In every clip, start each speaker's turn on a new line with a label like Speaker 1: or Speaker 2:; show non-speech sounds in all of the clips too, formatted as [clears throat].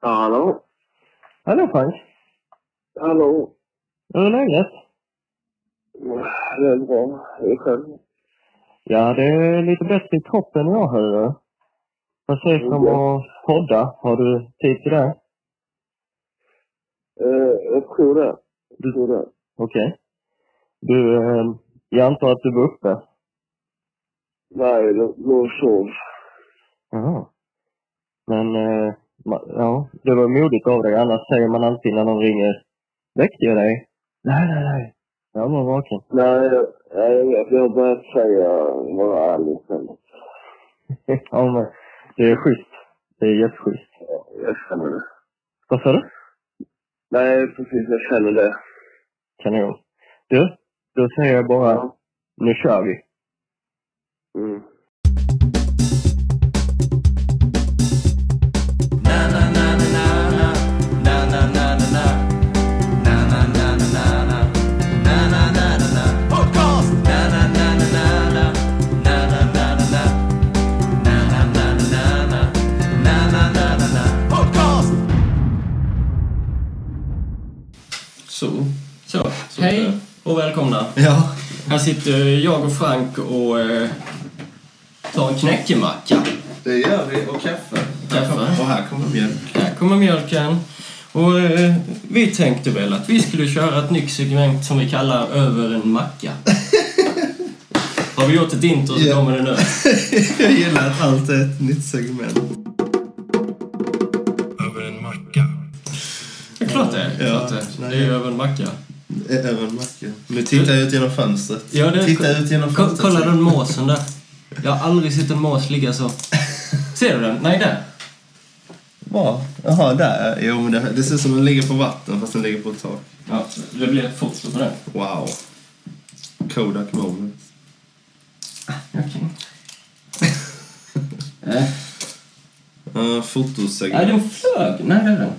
Speaker 1: Hallå?
Speaker 2: Hallå Frank!
Speaker 1: Hallå?
Speaker 2: Hur är läget?
Speaker 1: Det är bra. Hur är det själv?
Speaker 2: Ja, det är lite bättre i kroppen jag hör Precis som att podda. Har du tid till det?
Speaker 1: Eh, jag tror det. Jag tror det.
Speaker 2: Okej. Du, eh, jag antar att du var uppe?
Speaker 1: Nej, låg och sov.
Speaker 2: Ja. Men, eh, ma- ja, det var modigt av dig. Annars säger man alltid när någon ringer. Väckte jag dig? Nej, nej, nej. Jag var vaken.
Speaker 1: Nej, jag- nej, jag vet. Jag började säga, vara ärlig sen.
Speaker 2: ja, men det är schysst. Det är jätteschysst.
Speaker 1: Jag känner det.
Speaker 2: Vad sa du?
Speaker 1: Nej, precis. Jag känner det.
Speaker 2: Kanon. Du, då säger jag bara,
Speaker 1: Ja.
Speaker 2: nu kör vi.
Speaker 1: Mm.
Speaker 3: Så. Så. så
Speaker 4: Hej.
Speaker 3: Och välkomna.
Speaker 5: Ja,
Speaker 3: Här sitter jag och Frank och eh, tar en knäckemacka.
Speaker 5: det gör vi. Och kaffe.
Speaker 3: Kaffe.
Speaker 5: Och här kommer mjölk.
Speaker 3: Här kommer mjölken. Och eh, vi tänkte väl att vi skulle köra ett nytt segment som vi kallar Över en
Speaker 5: [laughs]
Speaker 3: macka. Har vi gjort ett intro så
Speaker 5: Ja.
Speaker 3: kommer det nu.
Speaker 5: Jag gillar att allt är ett nytt segment.
Speaker 3: Det är klart det är.
Speaker 5: Ja.
Speaker 3: Klart det. är. det är ju över en macka.
Speaker 5: Även mackan. Nu tittar jag ut genom fönstret.
Speaker 3: Ja, det-
Speaker 5: Titta ut genom
Speaker 3: Ko-
Speaker 5: fönstret.
Speaker 3: kolla den måsen där. Jag har aldrig sett en mås ligga så. Ser du den? Nej, där.
Speaker 5: Bra. Jaha, där. Jo, men det, det ser ut som den ligger på vatten fast den ligger på ett tak.
Speaker 3: Ja, det blir ett foto på den.
Speaker 5: Wow. Kodak moment.
Speaker 3: Okej. Nej,
Speaker 5: Uh,
Speaker 3: Nej,
Speaker 5: fotosegment.
Speaker 3: den flög. Nej, det är den.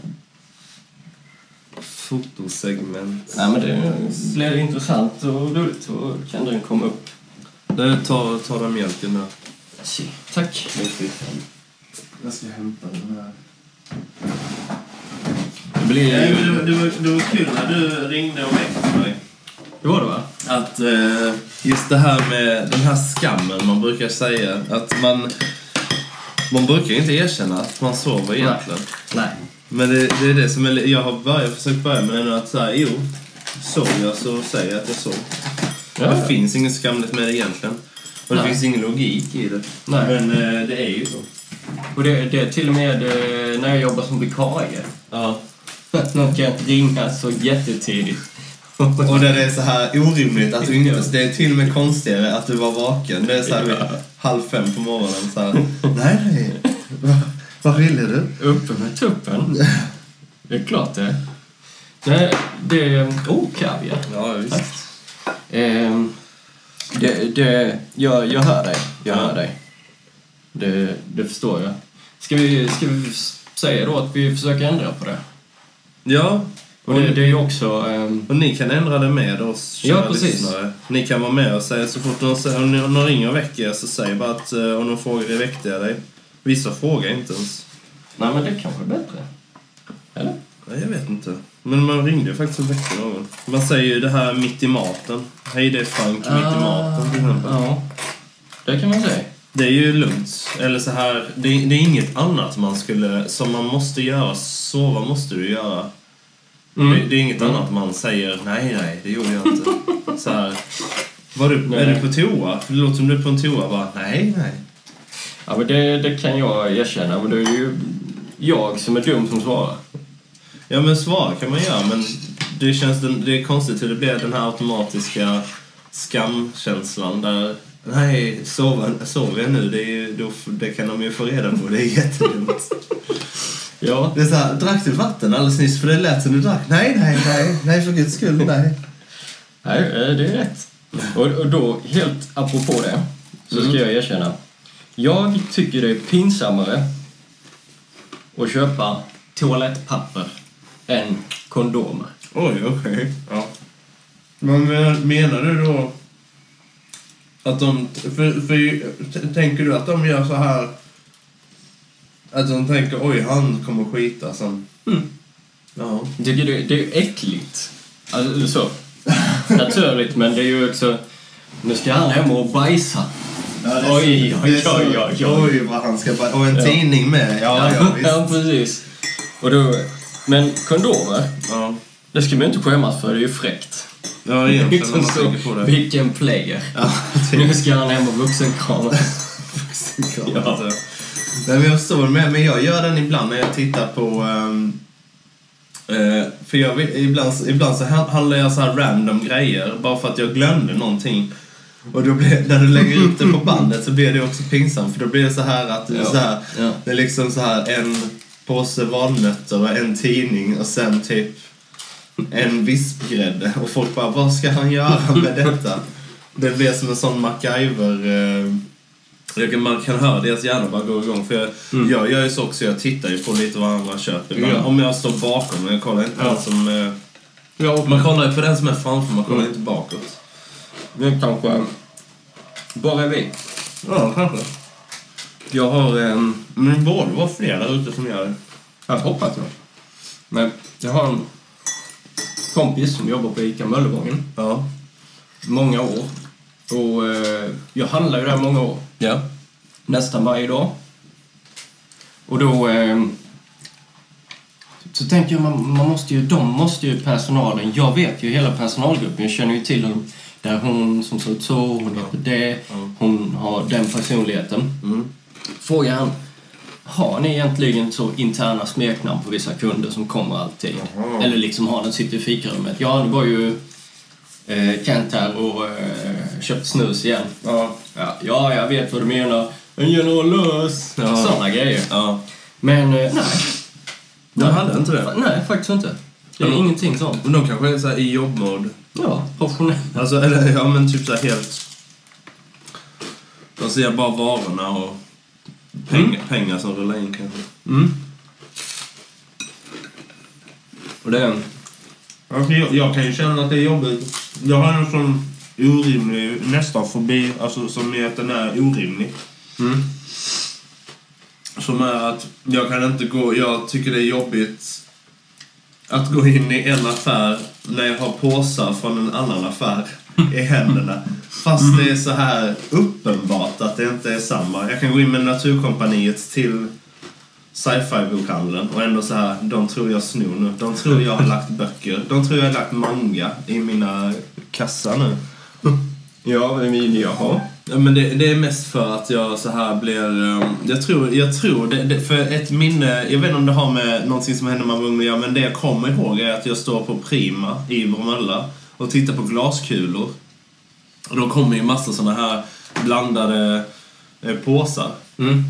Speaker 5: Fotosegment.
Speaker 3: Nej, men det blev intressant och roligt. Så kan den komma upp.
Speaker 5: Nu tar, tar den mjölken nu.
Speaker 3: Se. Tack.
Speaker 5: Jag ska hämta den här.
Speaker 3: Det blir
Speaker 5: Nej, men det,
Speaker 3: ju...
Speaker 5: var- det, var, det var kul när du ringde och väckte mig.
Speaker 3: Det var det, va?
Speaker 5: att eh, just det här med den här skammen man brukar säga att man man brukar inte erkänna att man sover egentligen.
Speaker 3: Nej.
Speaker 5: Men det, det är det som är, jag har börjat, försökt börja med det nu att säga jo, sov jag så säger jag att jag sov.
Speaker 3: Ja.
Speaker 5: Det finns inget skamligt med det egentligen. Och det
Speaker 3: Nej.
Speaker 5: finns ingen logik i det.
Speaker 3: Nej.
Speaker 5: Men eh, det är ju så.
Speaker 3: Och det, det är till och med eh, när jag jobbar som vikarie. [laughs]
Speaker 5: Ja.
Speaker 3: Att någon kan ringa så jättetidigt.
Speaker 5: Och där det är så här orimligt att du inte... Det är till och med konstigare att du var vaken. Det är så här vid halv fem på morgonen. Så här, nej, nej. Va- Vad ville du?
Speaker 3: Uppe med tuppen. Det är klart det. Nej, det... Oh, kaviar.
Speaker 5: Ja, visst.
Speaker 3: Ehm, det, det, jag, jag hör dig. Jag
Speaker 5: Ja.
Speaker 3: hör dig. Det, det förstår jag. Ska vi, ska vi s- säga då att vi försöker ändra på det?
Speaker 5: Ja,
Speaker 3: Och det, det är ju också... ehm,
Speaker 5: och ni kan ändra det med oss, kära
Speaker 3: Ja, precis.
Speaker 5: lyssnare. Ni kan vara med och säga så fort någon, säger- om någon ringer och väcker er så säg bara att eh, om de frågar är väckte jag dig. Vissa frågar inte ens.
Speaker 3: nej, men det kanske är bättre. Eller?
Speaker 5: Nej, jag vet inte. Men man ringde ju faktiskt och väckte någon. Man säger ju det här mitt i maten. Hej, det är Frank
Speaker 3: Ah.
Speaker 5: mitt i maten till exempel.
Speaker 3: Ja, det kan man säga.
Speaker 5: Det är ju lugnt. Eller så här, det, det är inget annat man skulle, som man måste göra. Sova måste du göra.
Speaker 3: Mm.
Speaker 5: Det, det är inget annat man säger, nej, nej, det gjorde jag inte. så här, var du,
Speaker 3: Nej.
Speaker 5: är du på toa? För Det låter som du är på en toa. Bara, nej, nej.
Speaker 3: Ja, men det, det kan jag erkänna, men det är ju jag som är dum som svarar.
Speaker 5: Ja, men svara kan man göra, men det känns den, det är konstigt hur det blir den här automatiska skamkänslan där, nej, sova, sover jag nu? Det, är ju, då, f- det kan de ju få reda på. Det är jättedumt.
Speaker 3: Ja,
Speaker 5: Det är såhär, drack du vatten alldeles nyss? För det lät som du drack. Nej, nej, nej, nej för guds skull, nej.
Speaker 3: nej, eh, det är rätt. Och, och då, helt apropå det, så
Speaker 5: Mm.
Speaker 3: ska jag erkänna. Jag tycker det är pinsammare att köpa toalettpapper än kondomer.
Speaker 5: Oj, okej. Ja. Men men- menar du då att de... För, för, t- tänker du att de gör så här Att de tänker oj, han kommer skita sen.
Speaker 3: Mm.
Speaker 5: Ja.
Speaker 3: Jag tycker det, det är ju äckligt. Alltså så. Naturligt, men det är ju också... Nu ska han hem och bajsa. Oj, oj,
Speaker 5: Det är så-
Speaker 3: oj, oj, oj.
Speaker 5: oj, vad han ska bara, Och en tidning med. Ja, ja,
Speaker 3: Ja,
Speaker 5: visst.
Speaker 3: precis. Och då, men kondomer,
Speaker 5: Ja,
Speaker 3: det ska man ju inte skämmas för. Det är ju fräckt.
Speaker 5: ja egentligen när man
Speaker 3: [laughs]
Speaker 5: tänker på det.
Speaker 3: vilken player.
Speaker 5: Ja,
Speaker 3: Nu ska han hem och vuxenkramas.
Speaker 5: Ja. Alltså. Nej, men jag förstår med, men jag gör den ibland när jag tittar på... ehm, eh, för jag vill, ibland, ibland så ha- handlar jag så här random grejer bara för att jag glömde någonting. Och då blir, när du lägger upp det på bandet så blir det också pinsamt för då blir det så här att du
Speaker 3: Ja.
Speaker 5: så här,
Speaker 3: Ja.
Speaker 5: det är liksom så här en påse valnötter och en tidning och sen typ en vispgrädde och folk bara vad ska han göra med detta? Det blir som en sån MacGyver eh, jag kan, man kan höra deras hjärnor bara gå igång. För jag, jag gör ju så också, jag tittar ju på lite vad andra köper. Men
Speaker 3: Ja.
Speaker 5: Om jag står bakom, men jag kollar inte på
Speaker 3: Ja.
Speaker 5: den som... eh,
Speaker 3: Ja, och
Speaker 5: Man kollar ju på den som är framför, man kollar inte bakåt.
Speaker 3: det kanske... Bara vi.
Speaker 5: Ja, kanske.
Speaker 3: Jag har... en
Speaker 5: Men det borde vara fler där ute som gör det.
Speaker 3: Jag hoppas jag. Men jag har en kompis som jobbar på ICA Möllevången.
Speaker 5: Ja.
Speaker 3: Många år. Och eh, jag handlar ju där många år.
Speaker 5: Ja.
Speaker 3: nästan varje dag. Och då... Eh, så tänker jag, man, man måste ju, de måste ju personalen... Jag vet ju hela personalgruppen, jag känner ju till dem. Där hon som ser ut så, hon heter det, hon har den personligheten. Frågar han, har ni egentligen så interna smeknamn på vissa kunder som kommer alltid?
Speaker 5: Jaha.
Speaker 3: Eller liksom har den sitter i fikarummet? Ja, det var ju eh, Kent här och eh, köpte snus igen.
Speaker 5: Ja.
Speaker 3: Ja, ja, jag vet vad du menar. En generalös.
Speaker 5: Ja.
Speaker 3: Sådana grejer.
Speaker 5: Ja.
Speaker 3: Men eh, nej.
Speaker 5: De hade inte
Speaker 3: Fa-
Speaker 5: det.
Speaker 3: Nej, faktiskt inte. Det är
Speaker 5: Ja, men-
Speaker 3: ingenting sånt.
Speaker 5: Men de kanske är så här i jobbmode.
Speaker 3: Ja, professionell.
Speaker 5: Alltså, eller ja men typ så här helt... De ser bara varorna och pengar, pengar som rullar in kanske.
Speaker 3: Mm. Och det...
Speaker 5: Alltså, jag, jag kan ju känna att det är jobbigt. Jag har en sån orimlig, nästan fobi, alltså som är att den är orimlig.
Speaker 3: Mm.
Speaker 5: Som är att jag kan inte gå, jag tycker det är jobbigt att gå in i en affär när jag har påsar från en annan affär i händerna. Fast det är så här uppenbart att det inte är samma. Jag kan gå in med Naturkompaniet till sci-fi-bokhandeln och ändå så här, de tror jag snor nu. De tror jag har lagt böcker. De tror jag har lagt manga i mina kassar nu.
Speaker 3: Ja, men jaha.
Speaker 5: Ja, men det, det är mest för att jag så här blir... ehm, Jag tror, jag tror det, det, för ett minne, jag vet inte om det har med någonting som hände när man var ung att göra, men det jag kommer ihåg är att jag står på Prima i Bromölla och tittar på glaskulor. Och då kommer ju massa såna här blandade eh, påsar.
Speaker 3: Mm.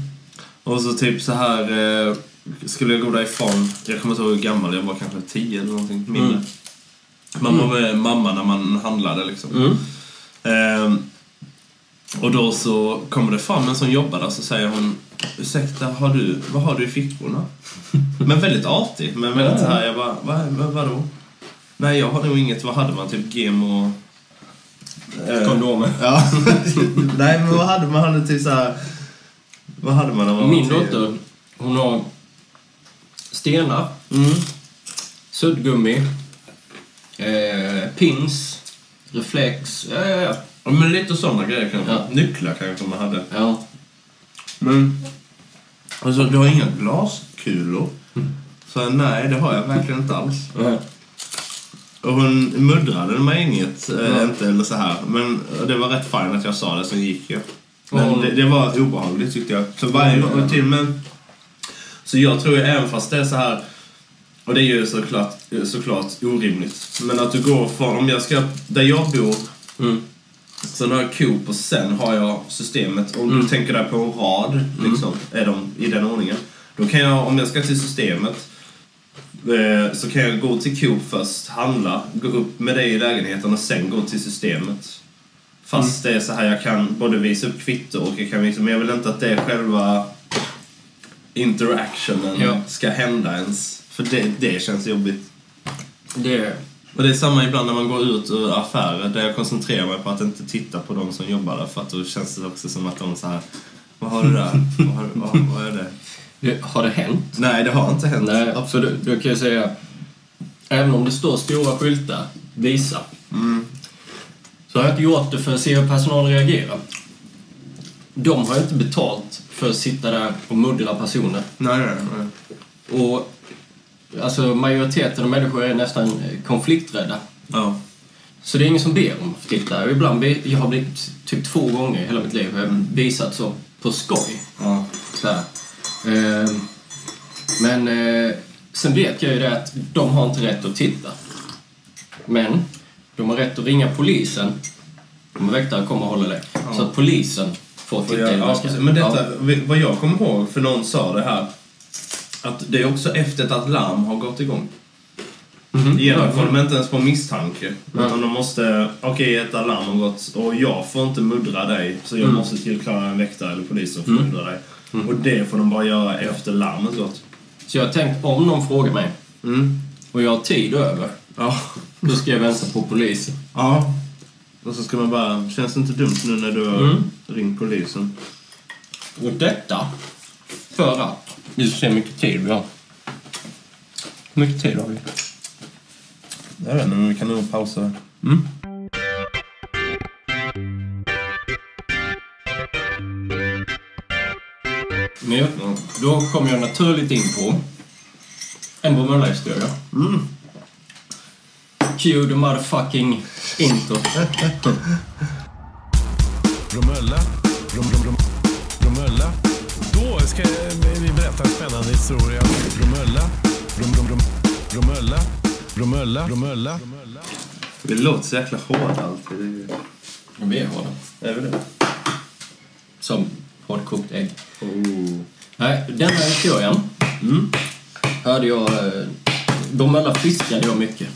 Speaker 5: Och så typ så här eh, skulle jag gå därifrån. Jag kommer inte ihåg hur gammal jag var, kanske 10 eller någonting mindre.
Speaker 3: Mm.
Speaker 5: Man var med mamma när man handlade liksom.
Speaker 3: Mm.
Speaker 5: Ehm, och då så kommer det fram en som jobbar där så säger hon Ursäkta, har du, vad har du
Speaker 3: [laughs]
Speaker 5: i fickorna? men väldigt artig. Men väldigt så här, jag bara, vad, vad, vadå? Nej, jag har nog inget. Vad hade man? Typ gem och... eh,
Speaker 3: Kondomer.
Speaker 5: Ja.
Speaker 3: [laughs]
Speaker 5: [laughs] Nej, men vad hade man? Man Hade typ så här, vad hade man när man var
Speaker 3: Min
Speaker 5: tio?
Speaker 3: dotter, hon har stenar,
Speaker 5: Mm.
Speaker 3: suddgummi, eh, pins, reflex. Eh,
Speaker 5: Ja, men lite sådana grejer kanske.
Speaker 3: Ja.
Speaker 5: Nycklar kanske man hade.
Speaker 3: ja.
Speaker 5: Men... Alltså, du har inga glaskulor? Så nej, det har jag verkligen inte alls. Och hon muddrade mig inget, eh,
Speaker 3: Ja.
Speaker 5: inte eller så här. Men det var rätt fint att jag sa det, sen gick jag.
Speaker 3: Och
Speaker 5: Men
Speaker 3: hon-
Speaker 5: det, det var obehagligt tyckte jag. Så varje gång, och till men Så jag tror ju även fast det är så här och det är ju såklart, såklart orimligt. Men att du går från, om jag ska, där jag bor,
Speaker 3: Mm.
Speaker 5: sen har jag Coop och sen har jag systemet. Om
Speaker 3: Mm.
Speaker 5: du tänker dig på en rad, liksom, är de i den ordningen. Då kan jag, om jag ska till systemet, Eh, så kan jag gå till Coop först, handla, gå upp med dig i lägenheten och sen gå till systemet. Fast det är så här, jag kan både visa upp kvitto och jag kan visa, men jag vill inte att det är själva interactionen
Speaker 3: Ja.
Speaker 5: ska hända ens. För det, det känns jobbigt.
Speaker 3: Det...
Speaker 5: Och det är samma ibland när man går ut ur affärer där jag koncentrerar mig på att inte titta på de som jobbar där för att då känns det också som att de så här Vad har du där? Vad, har, du- vad, vad är det?
Speaker 3: Det, har det hänt?
Speaker 5: Nej, det har inte hänt.
Speaker 3: Nej, för du, du kan ju säga... Även om det står stora skyltar, visa. Så har jag inte gjort det för att se hur personalen reagerar. De har ju inte betalt för att sitta där och muddra personer.
Speaker 5: Nej, nej, nej.
Speaker 3: Och alltså, majoriteten av människor är nästan eh, konflikträdda.
Speaker 5: Ja.
Speaker 3: Så det är ingen som ber om att få titta. Och Ibland blir- jag har blivit typ två gånger i hela mitt liv har jag visat så på skoj.
Speaker 5: ja.
Speaker 3: Så här. Eh, Men eh, sen vet jag ju det att de har inte rätt att titta. Men de har rätt att ringa polisen om en väktare kommer och håller det. Så att polisen får titta i
Speaker 5: Ja,
Speaker 3: väskan.
Speaker 5: precis. men detta,
Speaker 3: Ja.
Speaker 5: vi- vad jag kommer ihåg, för någon sa det här, att det är också efter att larm har gått igång.
Speaker 3: Mhm.
Speaker 5: Igen får de inte ens på misstanke. Utan de måste, okej ett alarm har gått och jag får inte muddra dig så jag måste tillkalla en väktare eller polis som får muddra dig. Och det får de bara göra efter larmet gått.
Speaker 3: Så jag har tänkt om någon frågar mig och jag har tid över,
Speaker 5: Mm. Ja.
Speaker 3: då ska jag vänta på polisen.
Speaker 5: ja. Och så ska man bara, känns det inte dumt nu när du har ringt polisen?
Speaker 3: Och detta för att vi ska se hur mycket tid vi har. Hur mycket tid har vi?
Speaker 5: Jag vet inte, men vi kan nog pausa det.
Speaker 3: Men jag, då kom jag naturligt in på en Bromölla-historia. Cue the motherfucking intro.
Speaker 4: Bromölla. Brom, brom, brom. Bromölla. Då ska vi berätta en spännande historia. Bromölla. Brom, brom, brom. Bromölla. Bromölla. Bromölla.
Speaker 5: Vi låter så jäkla hårda alltid. Det är-
Speaker 3: Vi har den.
Speaker 5: Är vi det?
Speaker 3: Som hårdkokt ägg.
Speaker 5: Oh.
Speaker 3: Nej, denna historien Mm. hörde jag... eh, Bromölla fiskade jag mycket.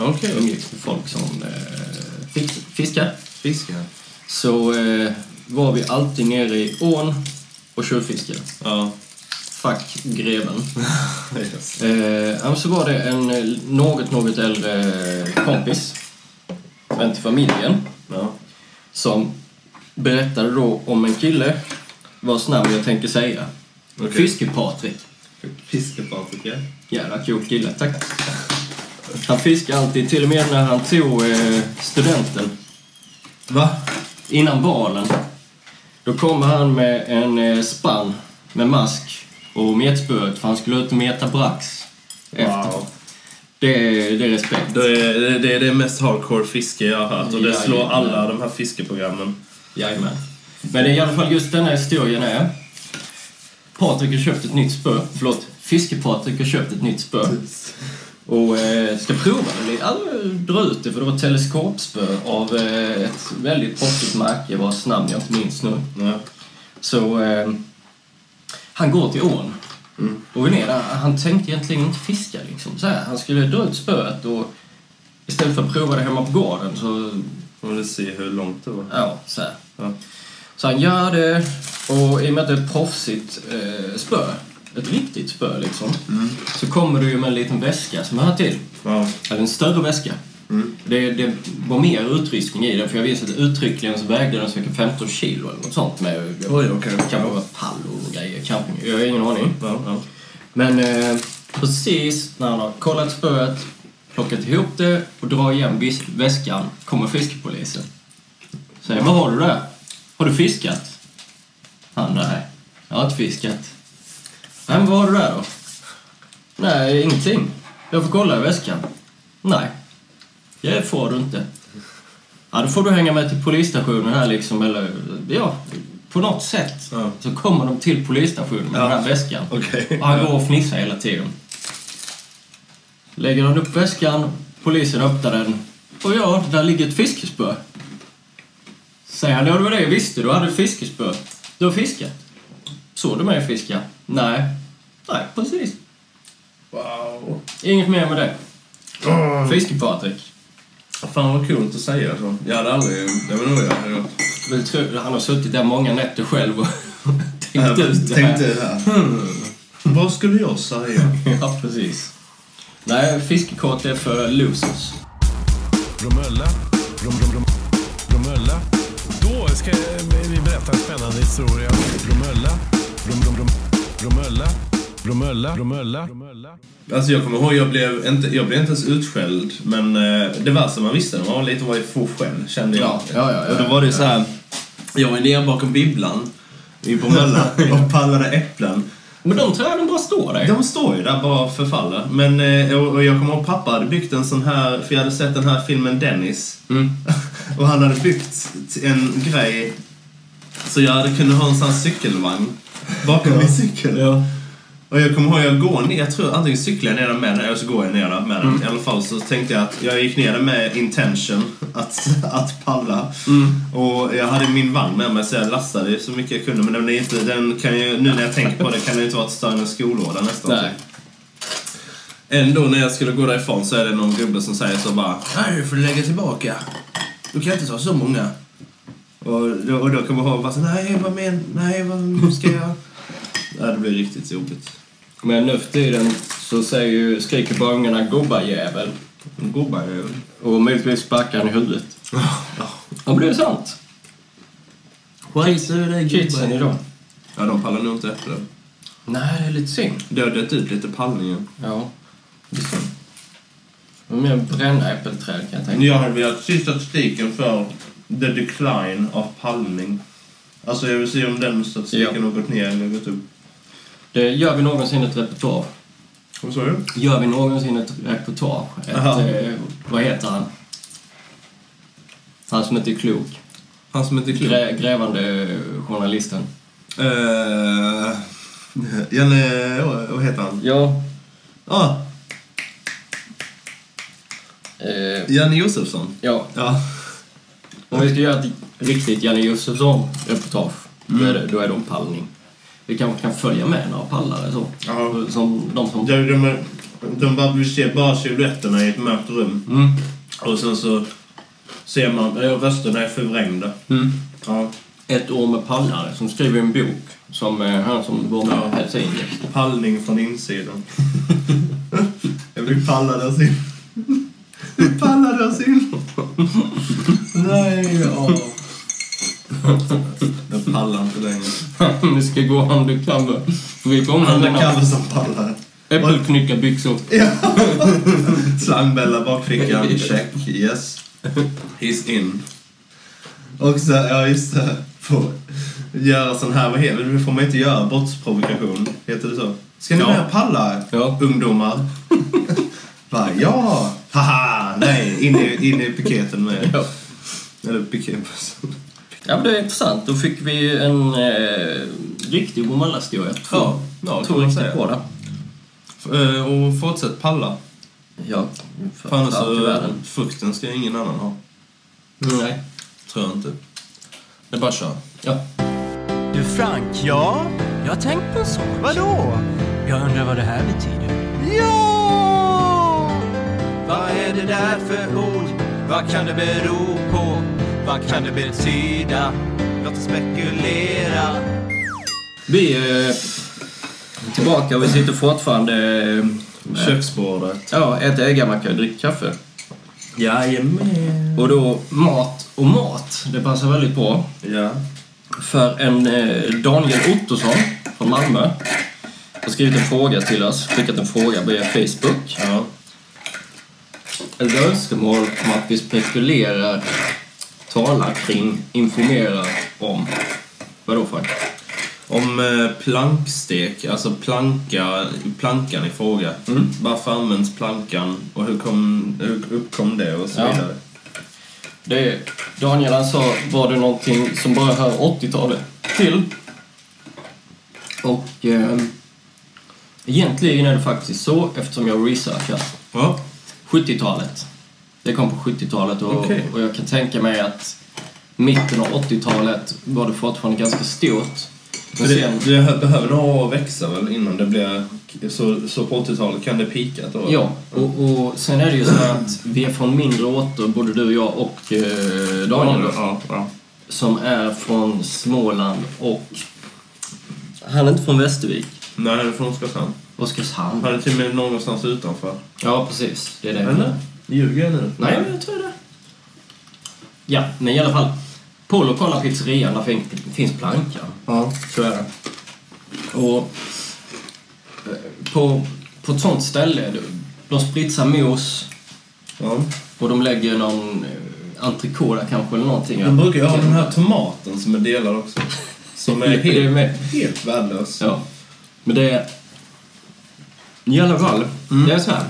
Speaker 5: Okej.
Speaker 3: Jag umgicks med folk som eh, fisk, fiskar.
Speaker 5: Fiskar.
Speaker 3: Så eh, var vi alltid nere i ån och tjuvfiskade.
Speaker 5: Ja. [laughs]
Speaker 3: Fuck greven.
Speaker 5: Yes.
Speaker 3: Eh, ja, men så var det en eh, något, något äldre kompis, vän till familjen,
Speaker 5: Ja.
Speaker 3: som berättade då om en kille vars namn jag tänker säga.
Speaker 5: Okej.
Speaker 3: Fiske-Patrik.
Speaker 5: Fiskepartik, ja.
Speaker 3: Jävla cool kille, tack. Han fiskade alltid, till och med när han tog eh, studenten,
Speaker 5: Va?
Speaker 3: innan balen. Då kommer han med en eh, spann med mask och metspöet för han skulle ut och meta brax. Efter.
Speaker 5: Wow.
Speaker 3: Det, är- det är respekt.
Speaker 5: Det är, det är det mest hardcore fiske jag har hört och det slår
Speaker 3: Jajamän.
Speaker 5: alla de här fiskeprogrammen.
Speaker 3: Jajamän. Men det är i alla fall just den här historien är... Patrik har köpt ett nytt spö. Förlåt, Fiske-Patrik har köpt ett nytt spö. Och eh, ska prova det lite. Alltså, dra ut det, för det var ett teleskopspö av eh, ett väldigt proffsigt märke vars namn jag inte minns nu.
Speaker 5: Ja.
Speaker 3: Så eh, han går till ån. Och är ner där. Han tänkte egentligen inte fiska. Liksom. Så här, han skulle dra ut spöet och istället för att prova det hemma på gården så...
Speaker 5: Man vill se hur långt det var.
Speaker 3: Ja, så här.
Speaker 5: Ja.
Speaker 3: Så han gör det och i och med att det är ett proffsigt eh, spö, ett riktigt spö liksom,
Speaker 5: Mm.
Speaker 3: så kommer du ju med en liten väska som hör till.
Speaker 5: Ja.
Speaker 3: Eller en större väska.
Speaker 5: Mm.
Speaker 3: Det, det var mer utrustning i den för jag visste att uttryckligen så vägde den cirka 15 kilo eller något sånt med
Speaker 5: Oj, okej.
Speaker 3: kan vara pall och grejer, camping. Jag har ingen aning.
Speaker 5: Ja, ja.
Speaker 3: Men eh, precis när han har kollat spöet, plockat ihop det och drar igen vis- väskan kommer fiskepolisen. Säger vad har du där? Har du fiskat? Han nej, jag har inte fiskat. Nej, men vad har du där då? Nej, ingenting. Jag får kolla i väskan. Nej, det får du inte. Ja, då får du hänga med till polisstationen här liksom, eller ja, på något sätt.
Speaker 5: Ja.
Speaker 3: Så kommer de till polisstationen med den här väskan.
Speaker 5: Okej.
Speaker 3: Och han går och fnissar hela tiden. Lägger han upp väskan, polisen öppnar den. Och ja, där ligger ett fiskespö. Säger han, ja det var det jag visste, du hade ett fiskespö. Du har fiskat. Såg du mig fiska? Nej. Nej, precis.
Speaker 5: Wow.
Speaker 3: Inget mer med det.
Speaker 5: Oh.
Speaker 3: Fiske-Patrik.
Speaker 5: Fan vad coolt att säga så. Jag hade aldrig... Jag vet inte vad jag hade gjort.
Speaker 3: Vill tro- Han har suttit där många nätter själv och [laughs] tänkt
Speaker 5: Jag
Speaker 3: ut det
Speaker 5: Tänkte
Speaker 3: här.
Speaker 5: det här.
Speaker 6: Hmm.
Speaker 5: Vad skulle jag säga?
Speaker 3: Ja, precis. Nej, fiskekort är för losers.
Speaker 4: Bromölla. Brom, brom, brom. Bromölla. Då ska vi berätta en spännande historia. Bromölla. Brom, brom, brom. Bromölla. Bromölla, Bromölla, Bromölla.
Speaker 5: Alltså jag kommer ihåg, jag blev inte, jag blev inte ens utskälld. Men eh, det värsta man visste när man var liten var ju fuschen, kände jag.
Speaker 6: Ja, ja, ja, ja,
Speaker 5: och då var det ju så här. Jag var ner bakom bibblan i Bromölla
Speaker 6: [laughs]
Speaker 5: och pallade äpplen.
Speaker 3: Men de träden bara står där.
Speaker 5: De står ju där bara och förfaller. Men, eh, och och jag kommer ihåg pappa hade byggt en sån här, för jag hade sett den här filmen Dennis. [laughs] Och han hade byggt en grej så jag hade kunnat ha en sån här cykelvagn bakom min cykel. Och jag kommer ihåg, jag går ner, jag tror antingen cyklar jag ner den med den eller så går jag ner den med den. I alla fall så tänkte jag att jag gick ner den med intention [laughs] att, att palla. Och jag hade min vagn med mig så jag lastade ju så mycket jag kunde. Men den, är inte, den kan ju, nu när jag tänker på det kan den ju inte vara större än en skolåda nästan.
Speaker 3: Nej.
Speaker 5: Ändå när jag skulle gå därifrån så är det någon gubbe som säger så bara Nej, du får lägga tillbaka. Du kan inte ta så många. Och då, och då kommer jag ihåg bara så, nej vad men, nej vad ska jag... Nej, det blir riktigt jobbigt.
Speaker 3: Men nu för tiden så säger ju, skriker bara ungarna gubbajävel
Speaker 5: Gubbar är ju...
Speaker 3: och möjligtvis sparkar han i huvudet. Ja, men det är sant. Kidsen idag.
Speaker 5: Ja, de pallar nog inte efter det.
Speaker 3: Nej, det är lite synd.
Speaker 5: Det har dött ut lite pallningar.
Speaker 3: Ja, det är synd. Men mer brända äppelträd kan jag tänka mig.
Speaker 5: Jag hade velat se statistiken för the decline av pallning. Alltså jag vill se om den statistiken
Speaker 3: Ja.
Speaker 5: har gått ner eller gått upp.
Speaker 3: Det gör vi någonsin ett repertoar.
Speaker 5: Vad sa du?
Speaker 3: Gör vi någonsin ett reportage? Ett,
Speaker 5: Aha.
Speaker 3: eh, vad heter han? Han som inte är klok.
Speaker 5: Han som inte är klok.
Speaker 3: Grä, grävande eh, journalisten.
Speaker 5: Eh, Janne... vad- Vad heter han?
Speaker 3: Ja.
Speaker 5: Ah,
Speaker 3: Eh,
Speaker 5: Janne Josefsson.
Speaker 3: ja.
Speaker 5: Ja.
Speaker 3: Om vi ska göra ett riktigt Janne Josefsson-reportage, då,
Speaker 5: Mm.
Speaker 3: är det- då är det om pallning. Vi kanske kan följa med några pallare så.
Speaker 5: Ja.
Speaker 3: Som de som...
Speaker 5: De, de, är- de bara, vi ser bara silhuetterna i ett mörkt rum. Och sen så ser man... ja, Rösterna är förvrängda. Ja.
Speaker 3: Ett år med pallare som skriver en bok som eh, han som var med och hälsade in. [laughs]
Speaker 5: Pallning från insidan. Jag blir pallad av sin... Blir pallad av sin... Nej, ja. Jag pallar inte längre.
Speaker 3: Vi ska gå undercover. För vi kommer
Speaker 5: Undercover
Speaker 3: med
Speaker 5: som pallar.
Speaker 3: äppelknyckarbyxor.
Speaker 5: Slangbella bakfickan, check, yes. He's in. Och så, ja just det. På, göra sån här, vad heter det? Det får man inte göra, brottsprovokation. Heter det så? Ska ni
Speaker 3: Ja.
Speaker 5: med och palla?
Speaker 3: Ja.
Speaker 5: [laughs] Ungdomar. Bara, ja! Haha! Nej, in i, in i piketen med.
Speaker 3: Ja.
Speaker 5: Eller piket.
Speaker 3: Ja, men det är intressant. Då fick vi en eh, riktig Bromölla-historia.
Speaker 5: Ja, ja,
Speaker 3: jag
Speaker 5: kan
Speaker 3: tror
Speaker 5: man
Speaker 3: riktigt
Speaker 5: säga.
Speaker 3: på det.
Speaker 5: Eh, Och fortsätt palla.
Speaker 3: Ja,
Speaker 5: För annars
Speaker 3: fram till
Speaker 5: så, eh,
Speaker 3: världen.
Speaker 5: frukten ska ingen annan ha. mm.
Speaker 3: Nej.
Speaker 5: Tror jag inte. Det är bara att köra.
Speaker 3: Ja.
Speaker 7: Du Frank? Ja? Jag har tänkt på en sak. Vadå? Jag undrar vad det här betyder. Ja! Vad är det där för ord? Vad kan det bero på? Vad kan det betyda? Låt oss spekulera.
Speaker 3: Vi är tillbaka och vi sitter fortfarande... eh,
Speaker 5: Köksbordet.
Speaker 3: Ja, äter äggamacka och dricker kaffe.
Speaker 5: Jajamän.
Speaker 3: Och då mat och mat, det passar väldigt bra.
Speaker 5: Ja.
Speaker 3: För en eh, Daniel Ottosson från Malmö har skrivit en fråga till oss, skickat en fråga via Facebook.
Speaker 5: Ja.
Speaker 3: Ett önskemål om att vi spekulerar, talar kring, informerar om. Vadå för?
Speaker 5: Om eh, plankstek, alltså planka, plankan i fråga.
Speaker 3: Mm.
Speaker 5: Varför används plankan och hur, kom, hur uppkom det och så
Speaker 3: Ja.
Speaker 5: vidare.
Speaker 3: Det, Daniel han sa, var det någonting som bara hör 80-talet till? Och eh, egentligen är det faktiskt så, eftersom jag researchar
Speaker 5: Ja.
Speaker 3: 70-talet. Det kom på 70-talet och,
Speaker 5: Okej.
Speaker 3: och jag kan tänka mig att mitten av 80-talet var det fortfarande ganska stort.
Speaker 5: För
Speaker 3: Men
Speaker 5: det,
Speaker 3: sen,
Speaker 5: det behöver några år växa väl innan det blir... Så, så på 80-talet kan det pika då?
Speaker 3: ja, och, och sen är det ju så att vi är från mindre orter, både du och jag och eh, Daniel. då.
Speaker 5: Ja, ja.
Speaker 3: som är från Småland och han är inte från Västervik,
Speaker 5: Nej, det är från Oskarshamn.
Speaker 3: Oskarshamn.
Speaker 5: Han är till och med någonstans utanför.
Speaker 3: Ja, precis. Det är det.
Speaker 5: Eller? Ljuger jag nu?
Speaker 3: Nej, men jag tror det. Ja, men i alla fall. På lokala pizzerian där fin- finns plankan.
Speaker 5: Ja.
Speaker 3: Så är det. Och eh, på, på ett sånt ställe, de spritsar mos
Speaker 5: Ja.
Speaker 3: och de lägger någon eh, entrecote där kanske eller någonting.
Speaker 5: De brukar ju ha den här tomaten som är delad också. Som
Speaker 3: [laughs]
Speaker 5: är
Speaker 3: Det är
Speaker 5: helt,
Speaker 3: med.
Speaker 5: helt värdelös.
Speaker 3: Ja. Men det är... I alla fall,
Speaker 5: Mm.
Speaker 3: det är så här.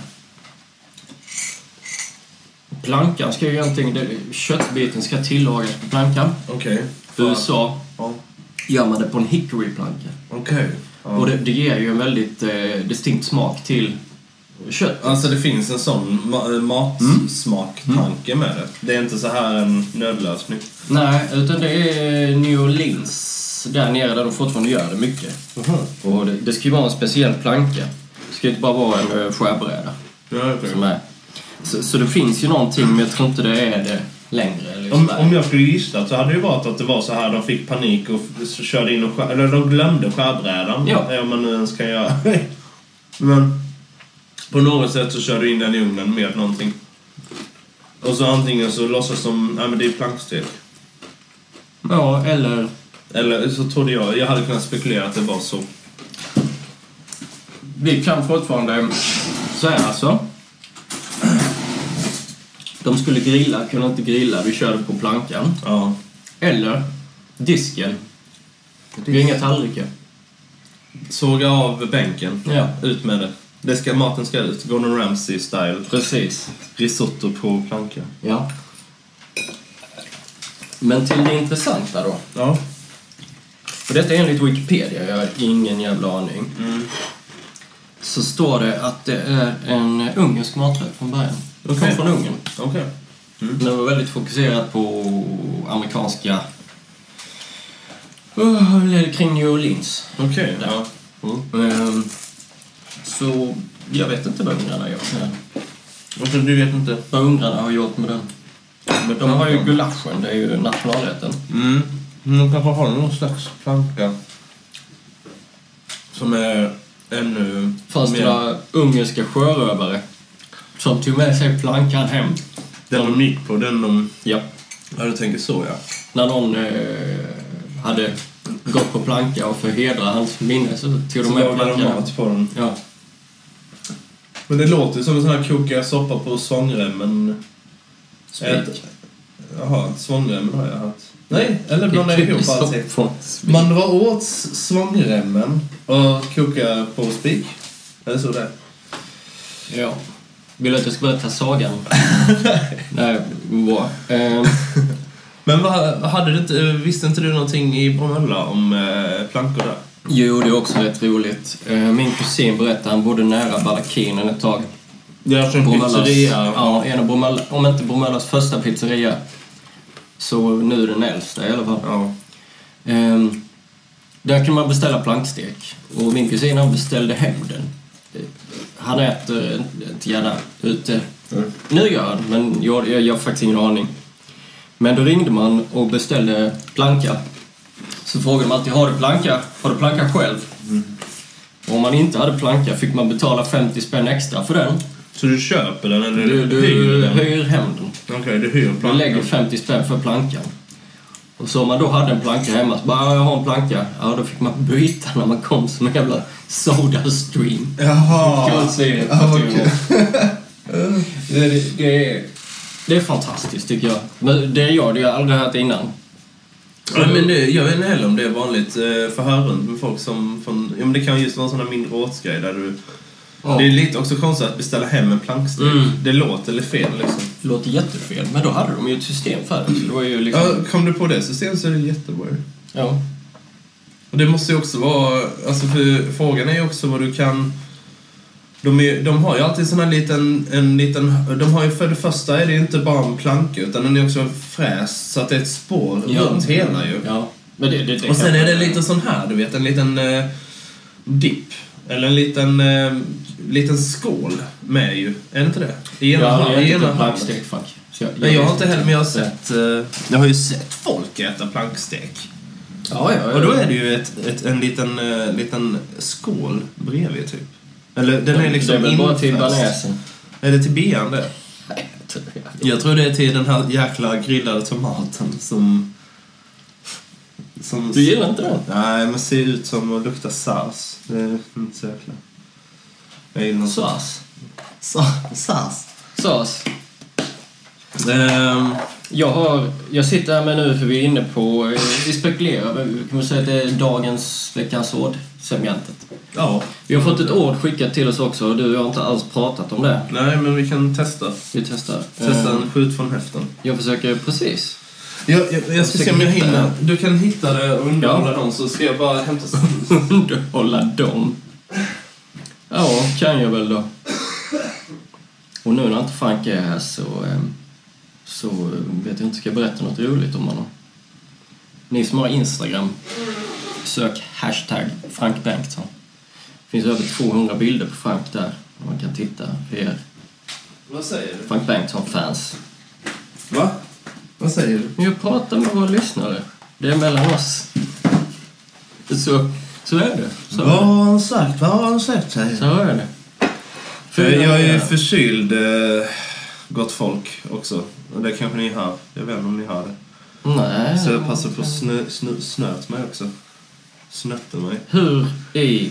Speaker 3: Plankan ska ju egentligen... det- Köttbiten ska tillagas på plankan.
Speaker 5: Okej.
Speaker 3: I USA
Speaker 5: Ja.
Speaker 3: gör man det på en hickoryplanka.
Speaker 5: Okej.
Speaker 3: Och
Speaker 5: Ja.
Speaker 3: det, det ger ju en väldigt eh, distinkt smak till kött. Mm.
Speaker 5: Alltså det finns en sån ma- eh, matsmaktanke med det. Det är inte så här en nödlösning.
Speaker 3: Nej, utan det är New Orleans där nere där de fortfarande gör det mycket.
Speaker 5: Mhm.
Speaker 3: Och det, det ska ju vara en speciell planka. Det ska ju inte bara vara en eh, skärbräda.
Speaker 5: Ja, okej.
Speaker 3: Som är. Så, så det finns ju någonting, men jag tror inte det är det längre. Eller
Speaker 5: Om,
Speaker 3: just där.
Speaker 5: om jag skulle gissa så hade det ju varit att det var så här de fick panik och f- så körde in och skär, eller de glömde skärbrädan.
Speaker 3: Ja.
Speaker 5: eh, Om man nu ens kan göra [laughs] Men på något sätt så kör du in den i ugnen med någonting. Och så antingen så låtsas som, nej men det är plankstek.
Speaker 3: Ja, eller...
Speaker 5: Eller så trodde jag, jag hade kunnat spekulera att det var så.
Speaker 3: Vi kan fortfarande... Så här alltså. De skulle grilla, kunde inte grilla. Vi körde på plankan.
Speaker 5: Ja.
Speaker 3: Eller disken. Det är inga tallrikar.
Speaker 5: Såga av bänken.
Speaker 3: Ja.
Speaker 5: Ut med det. det ska, maten ska ut. Gordon Ramsay style.
Speaker 3: Precis.
Speaker 5: Risotto på planka.
Speaker 3: Ja. Men till det intressanta då.
Speaker 5: Ja.
Speaker 3: Och detta är enligt Wikipedia, jag har ingen jävla aning. Så står det att det är en ungersk maträtt från början. Den kom
Speaker 5: Okej.
Speaker 3: från Ungern.
Speaker 5: Okej.
Speaker 3: Den var väldigt fokuserad på amerikanska... Oh, eller kring New Orleans.
Speaker 5: Okej.
Speaker 3: Ja.
Speaker 5: Ja. Mm.
Speaker 3: Ehm, så jag vet inte vad ungrarna gör med den.
Speaker 5: Och så du vet inte.
Speaker 3: Vad ungrarna har gjort med den. Men de har ju gulaschen, det är ju nationalrätten.
Speaker 5: Mm. Men de kanske har någon slags planka. Som är ännu...
Speaker 3: Fanns det
Speaker 5: mer-
Speaker 3: några ungerska sjörövare som tog med sig plankan hem.
Speaker 5: Den de gick på, den de...
Speaker 3: Ja.
Speaker 5: Ja, du tänker så ja.
Speaker 3: När någon eh, hade gått på planka och för att hedra hans minne så tog de
Speaker 5: Så
Speaker 3: med
Speaker 5: lagade de
Speaker 3: plankan hem.
Speaker 5: mat på den.
Speaker 3: Ja.
Speaker 5: Men det låter ju som en sån här koka soppa på svångremmen. Ett-
Speaker 3: Spik.
Speaker 5: Jaha, svångremmen har jag haft. Nej, eller
Speaker 3: Det
Speaker 5: blanda
Speaker 3: är
Speaker 5: ihop
Speaker 3: typiskt
Speaker 5: allting.
Speaker 3: från spik.
Speaker 5: Man drar åt svångremmen och kokar på spik. Är det så det är?
Speaker 3: Ja. Vill du att jag ska berätta
Speaker 5: [laughs]
Speaker 3: sagan? Nej, bra. Ehm,
Speaker 5: Men vad, hade du inte, visste inte du någonting i Bromölla om eh, plankor där?
Speaker 3: jo, det är också rätt roligt. Eh, min kusin berättade, han bodde nära Ballakinen ett tag.
Speaker 5: Det är alltså en
Speaker 3: Bromöllas-
Speaker 5: pizzeria.
Speaker 3: Ja, en av Bromölla, om inte Bromöllas första pizzeria. Så nu den äldsta i alla fall.
Speaker 5: Ja.
Speaker 3: Ehm, där kan man beställa plankstek. Och min kusin han beställde hem den. Eh, Han äter inte- inte gärna ute. Nu gör han, men jag, jag, jag har faktiskt ingen aning. Men då ringde man och beställde planka. Så frågade de alltid, har du planka? Har du planka själv? Och om man inte hade planka fick man betala 50 spänn extra för den.
Speaker 5: Så du köper den eller
Speaker 3: Du, du
Speaker 5: hyr den?
Speaker 3: hyr hem den.
Speaker 5: Okej, du hyr
Speaker 3: Du lägger
Speaker 5: plankan.
Speaker 3: 50 spänn för plankan. Och så om man då hade en planka hemma, så bara "Ja, jag har en planka. Ja, då fick man byta när man kom som en jävla Soda Stream. Kan man
Speaker 5: Jaha!
Speaker 3: säga.
Speaker 5: Ja, okej.
Speaker 3: det, [laughs] det, det, är, det är fantastiskt tycker jag. Men det gör det, jag har aldrig hört innan.
Speaker 5: Ja, men det, jag vet inte heller om det är vanligt eh, förhör runt med folk som... Från, ja, men det kan just vara en sån här mindre åtsgrej där du...
Speaker 3: Ja.
Speaker 5: Det är lite också konstigt att beställa hem en plankstek.
Speaker 3: Mm.
Speaker 5: Det låter lite fel liksom.
Speaker 3: Det låter jättefel, men då hade de ju ett system för det. Så det var ju liksom...
Speaker 5: Ja, kom du på det systemet så är det jättebra ju.
Speaker 3: Ja.
Speaker 5: Och det måste ju också vara... Alltså för frågan är ju också vad du kan... De, är, de har ju alltid sån här liten, en liten... De har ju för det första är det ju inte bara en planka utan den är också en fräs så att det är ett spår
Speaker 3: Ja.
Speaker 5: runt hela ju.
Speaker 3: ja. Men det, det, det
Speaker 5: Och sen
Speaker 3: kan-
Speaker 5: är det lite sån här, du vet, en liten eh, dipp. Eller en liten, eh, liten skål med ju. Är det inte det? I ena
Speaker 3: Jag
Speaker 5: hand-
Speaker 3: har inte
Speaker 5: i ena
Speaker 3: ett
Speaker 5: hand.
Speaker 3: plankstek, fuck. Så jag-
Speaker 5: Nej, jag har inte
Speaker 3: vet
Speaker 5: heller, men jag har sett... Eh, jag har ju sett folk äta plankstek.
Speaker 3: Ja, ja, ja.
Speaker 5: Och då är det ju ett, ett, en liten, eh, liten skål bredvid typ. Eller den är liksom
Speaker 3: Det är väl bara till
Speaker 5: infäst.
Speaker 3: bearnaisen.
Speaker 5: Är det till bean det?
Speaker 3: Nej, jag tror jag.
Speaker 5: Jag tror det är till den här jäkla grillade tomaten som... som
Speaker 3: Du gillar inte den?
Speaker 5: Nej, men ser ut som och luktar saus. Det är inte så jäkla... Jag gillar inte-
Speaker 3: SAS.
Speaker 5: Sa- SAS.
Speaker 3: SAS.
Speaker 5: Ehm,
Speaker 3: Jag, har, jag sitter här med nu för vi är inne på... eh, Vi spekulerar. men Vi kan väl säga att det är dagens Veckans ord-segmentet.
Speaker 5: ja.
Speaker 3: Vi har fått ett ord skickat till oss också och du och jag har inte alls pratat om det.
Speaker 5: Nej, men vi kan testa.
Speaker 3: Vi testar.
Speaker 5: Testa
Speaker 3: Eh,
Speaker 5: en skjut från höften.
Speaker 3: Jag försöker precis.
Speaker 5: Jag, jag, jag ska se om jag hinner. Du kan hitta det och underhålla dem så ska jag bara hämta...
Speaker 3: [laughs] Underhålla dem. Ja, kan jag väl då. Och nu när inte Frank är här så, eh, så eh, vet jag inte, ska jag berätta något roligt om honom? Ni som har Instagram, sök hashtag Frank Bengtsson. Det finns över 200 bilder på Frank där. Man kan titta för er
Speaker 5: Vad säger du?
Speaker 3: Frank Bengtsson-fans.
Speaker 5: Va? Vad säger du?
Speaker 3: Men jag pratar med våra lyssnare. Det är mellan oss. Så, så är det. Så, är det.
Speaker 5: har han sagt? Vad har han sagt? Säger
Speaker 3: så är det.
Speaker 5: jag. Eh, jag är
Speaker 3: Fyra-
Speaker 5: förkyld, eh, gott folk, också. Och det kanske ni hör. Jag vet inte om ni hör det.
Speaker 3: Nej.
Speaker 5: Så jag passar på att snö, snö, snöt mig också. Snötte mig.
Speaker 3: Hur i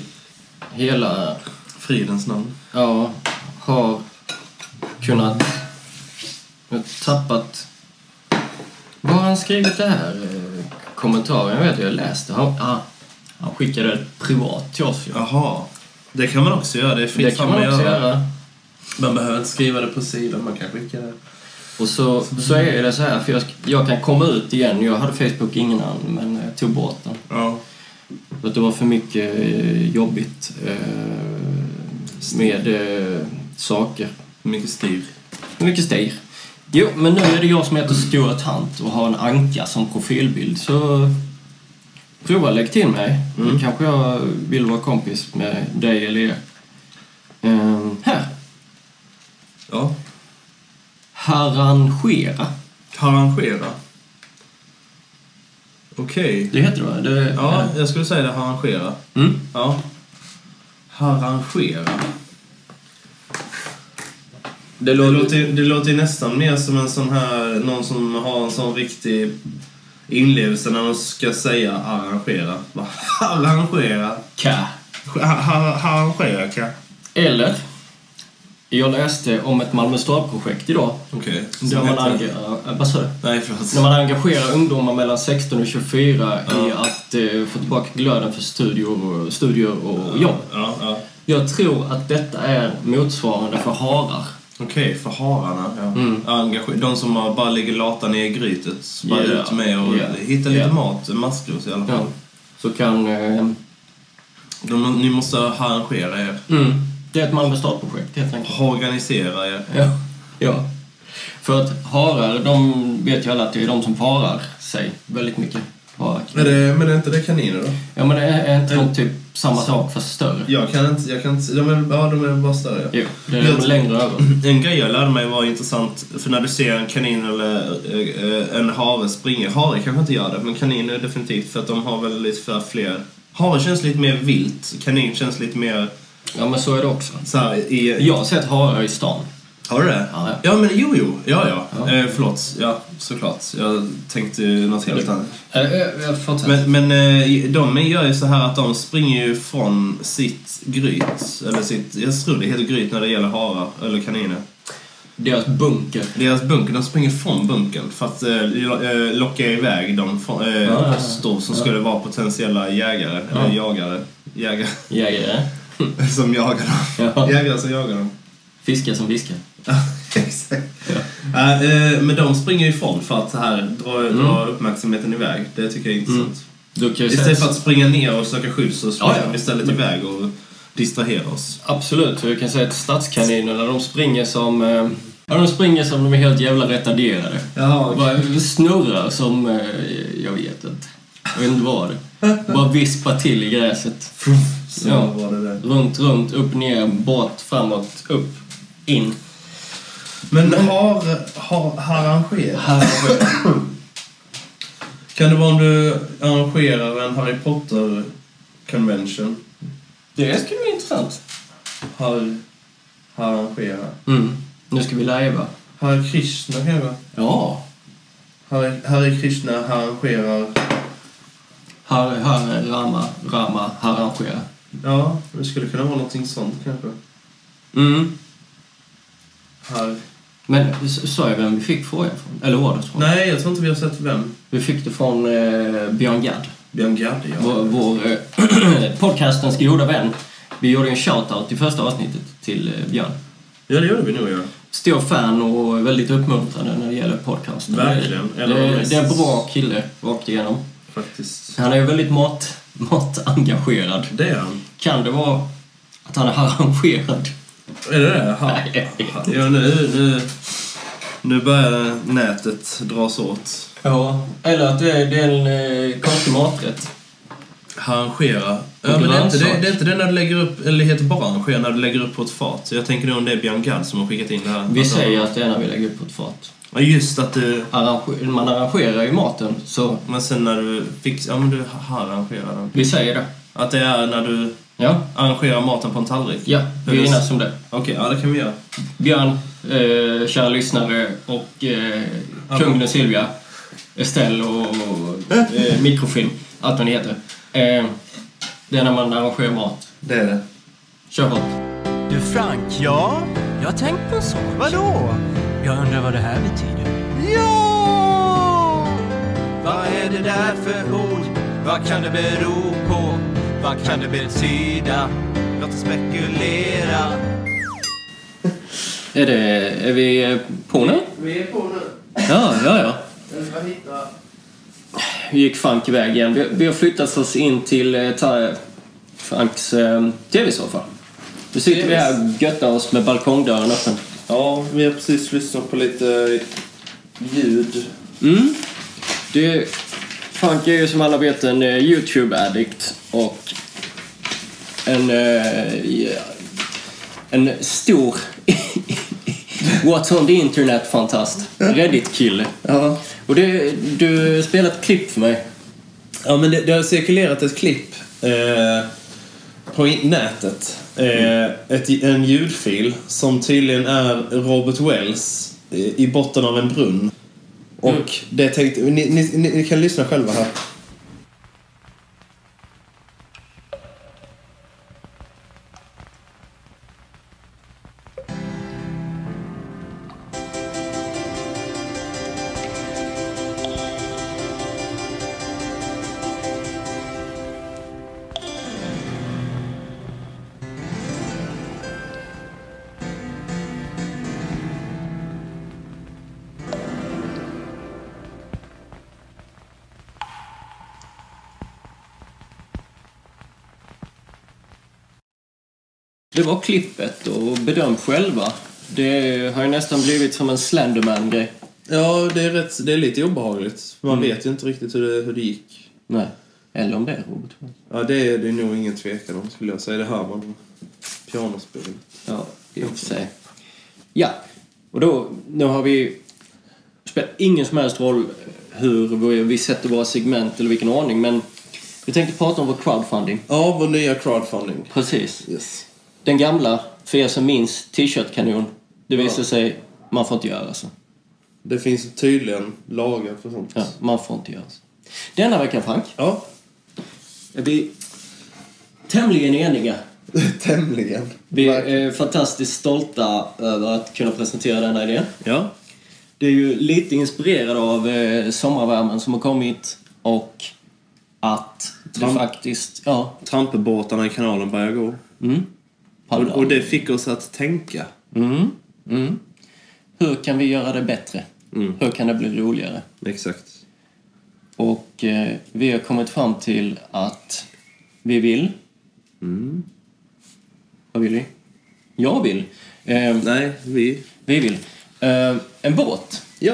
Speaker 3: hela...
Speaker 5: Fridens namn.
Speaker 3: Ja, har kunnat... jag har Tappat... Vad har han skrivit det här? eh, Kommentaren? Jag vet, jag läste. Han, ah, han skickade ett privat till oss ju.
Speaker 5: Jaha. Det kan man också göra. Det är fritt
Speaker 3: Det kan
Speaker 5: fram
Speaker 3: man
Speaker 5: att
Speaker 3: också göra.
Speaker 5: Man behöver inte skriva det på sidan. Man kan skicka det.
Speaker 3: Och så, så är det så här, för jag, sk- jag kan komma ut igen. Jag hade Facebook innan, men jag tog bort den.
Speaker 5: Ja.
Speaker 3: För att det var för mycket eh, jobbigt eh, med eh, saker.
Speaker 5: Mycket styr.
Speaker 3: För mycket styr. Jo, men nu är det jag som heter Stuart Hunt och har en anka som profilbild, så prova lägg till mig. Då kanske jag vill vara kompis med dig eller er. Eh, här!
Speaker 5: Ja.
Speaker 3: Harangera.
Speaker 5: Harangera. Okej.
Speaker 3: Det heter det, va? det
Speaker 5: Ja, jag skulle säga det. Harangera.
Speaker 3: Mm.
Speaker 5: Ja. Harangera.
Speaker 3: Det
Speaker 5: Det
Speaker 3: låter...
Speaker 5: låter, ju- det låter ju nästan mer som en sån här, någon som har en sån riktig inlevelse när de ska säga arrangera. Bara, Arrangera.
Speaker 3: Ka.
Speaker 5: Ha- ha- Arrangera kan.
Speaker 3: Eller, jag läste om ett Malmö stad-projekt idag.
Speaker 5: Okej. Okay.
Speaker 3: Där man, enga- äh, vad sa du?
Speaker 5: Nej,
Speaker 3: När
Speaker 5: förlåt.
Speaker 3: man engagerar ungdomar mellan 16 och 24 i att eh, få tillbaka glöden för studier och, studier och jobb.
Speaker 5: Ja, ja.
Speaker 3: Jag tror att detta är motsvarande för harar.
Speaker 5: Okej, för hararna. Ja.
Speaker 3: Mm.
Speaker 5: Engage- de som har- bara ligger lata ner i grytet. Bara
Speaker 3: Ja.
Speaker 5: ut med och
Speaker 3: Ja.
Speaker 5: hitta lite
Speaker 3: Ja.
Speaker 5: mat, maskros i alla fall.
Speaker 3: Ja. Så kan... Eh,
Speaker 5: De, ni måste arrangera er.
Speaker 3: mm, det är ett Malmö stad-projekt helt enkelt.
Speaker 5: Organisera er.
Speaker 3: Ja. ja. För att harar, de vet ju alla att det är de som parar sig väldigt mycket. Harar.
Speaker 5: Men, det, men är inte det kaniner då?
Speaker 3: Ja men är, är inte de typ samma sak fast större?
Speaker 5: Jag kan inte, jag kan inte, de är, ja, de är bara större.
Speaker 3: Jo, det är de längre över.
Speaker 5: [clears throat] En grej jag lärde mig var intressant, för när du ser en kanin eller eh, eh, en hare springa, hare kanske inte gör det, men kaniner definitivt för att de har väl lite för fler. Hare känns lite mer vilt, kanin känns lite mer
Speaker 3: Ja men så är det också.
Speaker 5: så här i...
Speaker 3: Jag har sett harar i stan.
Speaker 5: Har du det?
Speaker 3: Ja.
Speaker 5: ja men jo, jo, ja, ja.
Speaker 3: Ja.
Speaker 5: Eh, förlåt, ja, såklart. Jag tänkte ju något helt annat.
Speaker 3: Eh, Fortsätt.
Speaker 5: Men, men eh, de gör ju så här att de springer ju från sitt gryt. Eller sitt, jag tror det heter gryt när det gäller harar eller kaniner.
Speaker 3: Deras bunker.
Speaker 5: Deras bunker, de springer från bunkern för att eh, lo- eh, locka iväg de från, eh,
Speaker 3: Ja, ja, ja.
Speaker 5: ostor som skulle vara potentiella jägare. Eller jagare. Jägare [laughs]
Speaker 3: Jägare.
Speaker 5: som jagar dem.
Speaker 3: Ja.
Speaker 5: Jägare som jagar dem.
Speaker 3: Fiskar som viskar.
Speaker 5: Ja, [laughs] Exakt. Ja, eh, men de springer ifrån för att så här dra,
Speaker 3: Mm.
Speaker 5: dra uppmärksamheten iväg. Det tycker jag är intressant.
Speaker 3: Du kan ju säga-
Speaker 5: Istället för att springa ner och söka skydd så springer
Speaker 3: Ja, Mm. ja.
Speaker 5: vi istället iväg och distraherar oss.
Speaker 3: Absolut, för jag kan säga att stadskaninerna de springer som... eh, Ja, de springer som de är helt jävla retarderade.
Speaker 5: Jaha,
Speaker 3: Bara snurrar som... eh, Jag vet inte. Jag vet inte vad det är. Bara vispar till i gräset.
Speaker 5: Så
Speaker 3: Ja.
Speaker 5: var det där.
Speaker 3: Runt, runt, upp, ner, bort, framåt, upp, in.
Speaker 5: Men har, har, har arrangerat?
Speaker 3: Här har vi-
Speaker 5: Kan det vara om du arrangerar en Harry Potter convention?
Speaker 3: Det skulle bli intressant.
Speaker 5: Har, har arrangera?
Speaker 3: Mm. Nu ska vi lajva.
Speaker 5: Hare Krishna kanske?
Speaker 3: Ja.
Speaker 5: Hare, Hare Krishna arrangerar...
Speaker 3: Har, har, rama, rama, harangera.
Speaker 5: Ja, det skulle kunna vara någonting sånt kanske.
Speaker 3: Mm.
Speaker 5: Här.
Speaker 3: Men s- sa jag vem vi fick frågan från? Eller ordet från?
Speaker 5: Nej, jag tror inte vi har sett vem.
Speaker 3: Vi fick det från eh, Björn Gadd.
Speaker 5: Björn Gadde, ja.
Speaker 3: Vår, vår eh, [clears throat] podcastens goda vän. Vi gjorde en shoutout i första avsnittet till eh, Björn.
Speaker 5: Ja, det gjorde vi nog, ja.
Speaker 3: Stor fan och väldigt uppmuntrande när det gäller podcasten.
Speaker 5: Verkligen.
Speaker 3: Det,
Speaker 5: Eller vad
Speaker 3: det,
Speaker 5: mest-
Speaker 3: det är en bra kille rakt igenom.
Speaker 5: Faktiskt.
Speaker 3: Han är ju väldigt mat, [laughs] matengagerad.
Speaker 5: Det är han.
Speaker 3: Kan det vara att han är arrangerad?
Speaker 5: Är det det? Ha.
Speaker 3: Nej, jag vet inte.
Speaker 5: Ja, nu, nu, nu börjar nätet dras åt.
Speaker 3: Ja, eller att det är, det är en eh, konstig maträtt.
Speaker 5: Arrangera. Ja, men det, är inte, det,
Speaker 3: grönsak.
Speaker 5: det är inte det när du lägger upp, eller det heter bara arrangera, när du lägger upp på ett fat. Jag tänker nog om det är Björn Gadd som har skickat in det här.
Speaker 3: Vi
Speaker 5: Att-
Speaker 3: säger att det är när vi lägger upp på ett fat.
Speaker 5: Ja, just att du...
Speaker 3: Arrange- man arrangerar ju maten, så
Speaker 5: Men sen när du fick... Ja, men du arrangerar den.
Speaker 3: vi säger det.
Speaker 5: Att det är när du
Speaker 3: Ja,
Speaker 5: arrangerar maten på en tallrik.
Speaker 3: ja vi enas om det.
Speaker 5: Okej, ja det kan vi göra.
Speaker 3: Björn, eh, kära lyssnare och eh, kungen och Silvia, Estelle och eh, mikrofilm, allt vad ni heter. Eh, det är när man arrangerar mat.
Speaker 5: Det är det.
Speaker 3: Kör hårt.
Speaker 7: Du Frank? Ja? Jag har tänkt på en sak. Vadå? Jag undrar vad det här betyder. Ja! Vad är det där för ord? Vad kan det bero på? Vad kan det betyda? Låt oss spekulera.
Speaker 3: Är, det, är vi eh, på nu?
Speaker 5: Vi är på nu.
Speaker 3: Ja, ja, ja.
Speaker 5: Jag ska hitta...
Speaker 3: Vi gick Frank iväg igen. Vi, vi har flyttat oss in till eh, ta, Franks eh, tv-soffa. Nu sitter vi här och göttar oss med balkongdörren öppen.
Speaker 5: Ja, vi har precis lyssnat på lite ljud.
Speaker 3: Mm. Det, Frank är ju som alla vet en eh, YouTube-addict och en, eh, ja, en stor [laughs] What's on the internet-fantast. Reddit-kille.
Speaker 5: Ja.
Speaker 3: Och det, du spelade ett klipp för mig.
Speaker 5: Ja, men det, det har cirkulerat ett klipp eh, på in- nätet. Eh, ett, en ljudfil som tydligen är Robert Wells eh, i botten av en brunn. Och det tänkte... Ni, ni, ni, ni kan lyssna själva här.
Speaker 3: Det var klippet och bedöm själva. Det har ju nästan blivit som en Slenderman-grej.
Speaker 5: Ja, det är, rätt, det är lite obehagligt. Man vet ju inte riktigt hur det, hur det gick.
Speaker 3: Nej. Eller om det är Robert Wells.
Speaker 5: Ja, det är det är nog ingen tvekan om, skulle jag säga. Det hör man. Pianospel.
Speaker 3: Ja, i och för sig. Ja, och då, nu har vi... Det spelar ingen som helst roll hur vi- vi sätter våra segment eller vilken ordning, men vi tänkte prata om vår crowdfunding.
Speaker 5: Ja, vår nya crowdfunding.
Speaker 3: Precis.
Speaker 5: Yes.
Speaker 3: Den gamla, för er som minns, t-shirt-kanon. Det visar sig, man får inte göra så.
Speaker 5: Det finns tydligen lagar för sånt.
Speaker 3: Ja, man får inte göra så. Denna veckan, Frank,
Speaker 5: ja. [laughs]
Speaker 3: är vi tämligen eniga.
Speaker 5: Tämligen.
Speaker 3: Vi är eh, fantastiskt stolta över att kunna presentera denna idén.
Speaker 5: Ja.
Speaker 3: Det är ju lite inspirerad av eh, sommarvärmen som har kommit och att det
Speaker 5: Man-
Speaker 3: faktiskt... Ja.
Speaker 5: Trampebåtarna i kanalen börjar gå. Och, och det fick oss att tänka.
Speaker 3: Hur kan vi göra det bättre?
Speaker 5: Mm.
Speaker 3: Hur kan det bli roligare?
Speaker 5: Exakt.
Speaker 3: Och eh, vi har kommit fram till att vi vill...
Speaker 5: Mm.
Speaker 3: Vad vill vi? Jag vill. Eh,
Speaker 5: Nej, vi...
Speaker 3: vi vill. Eh, en båt.
Speaker 5: Ja.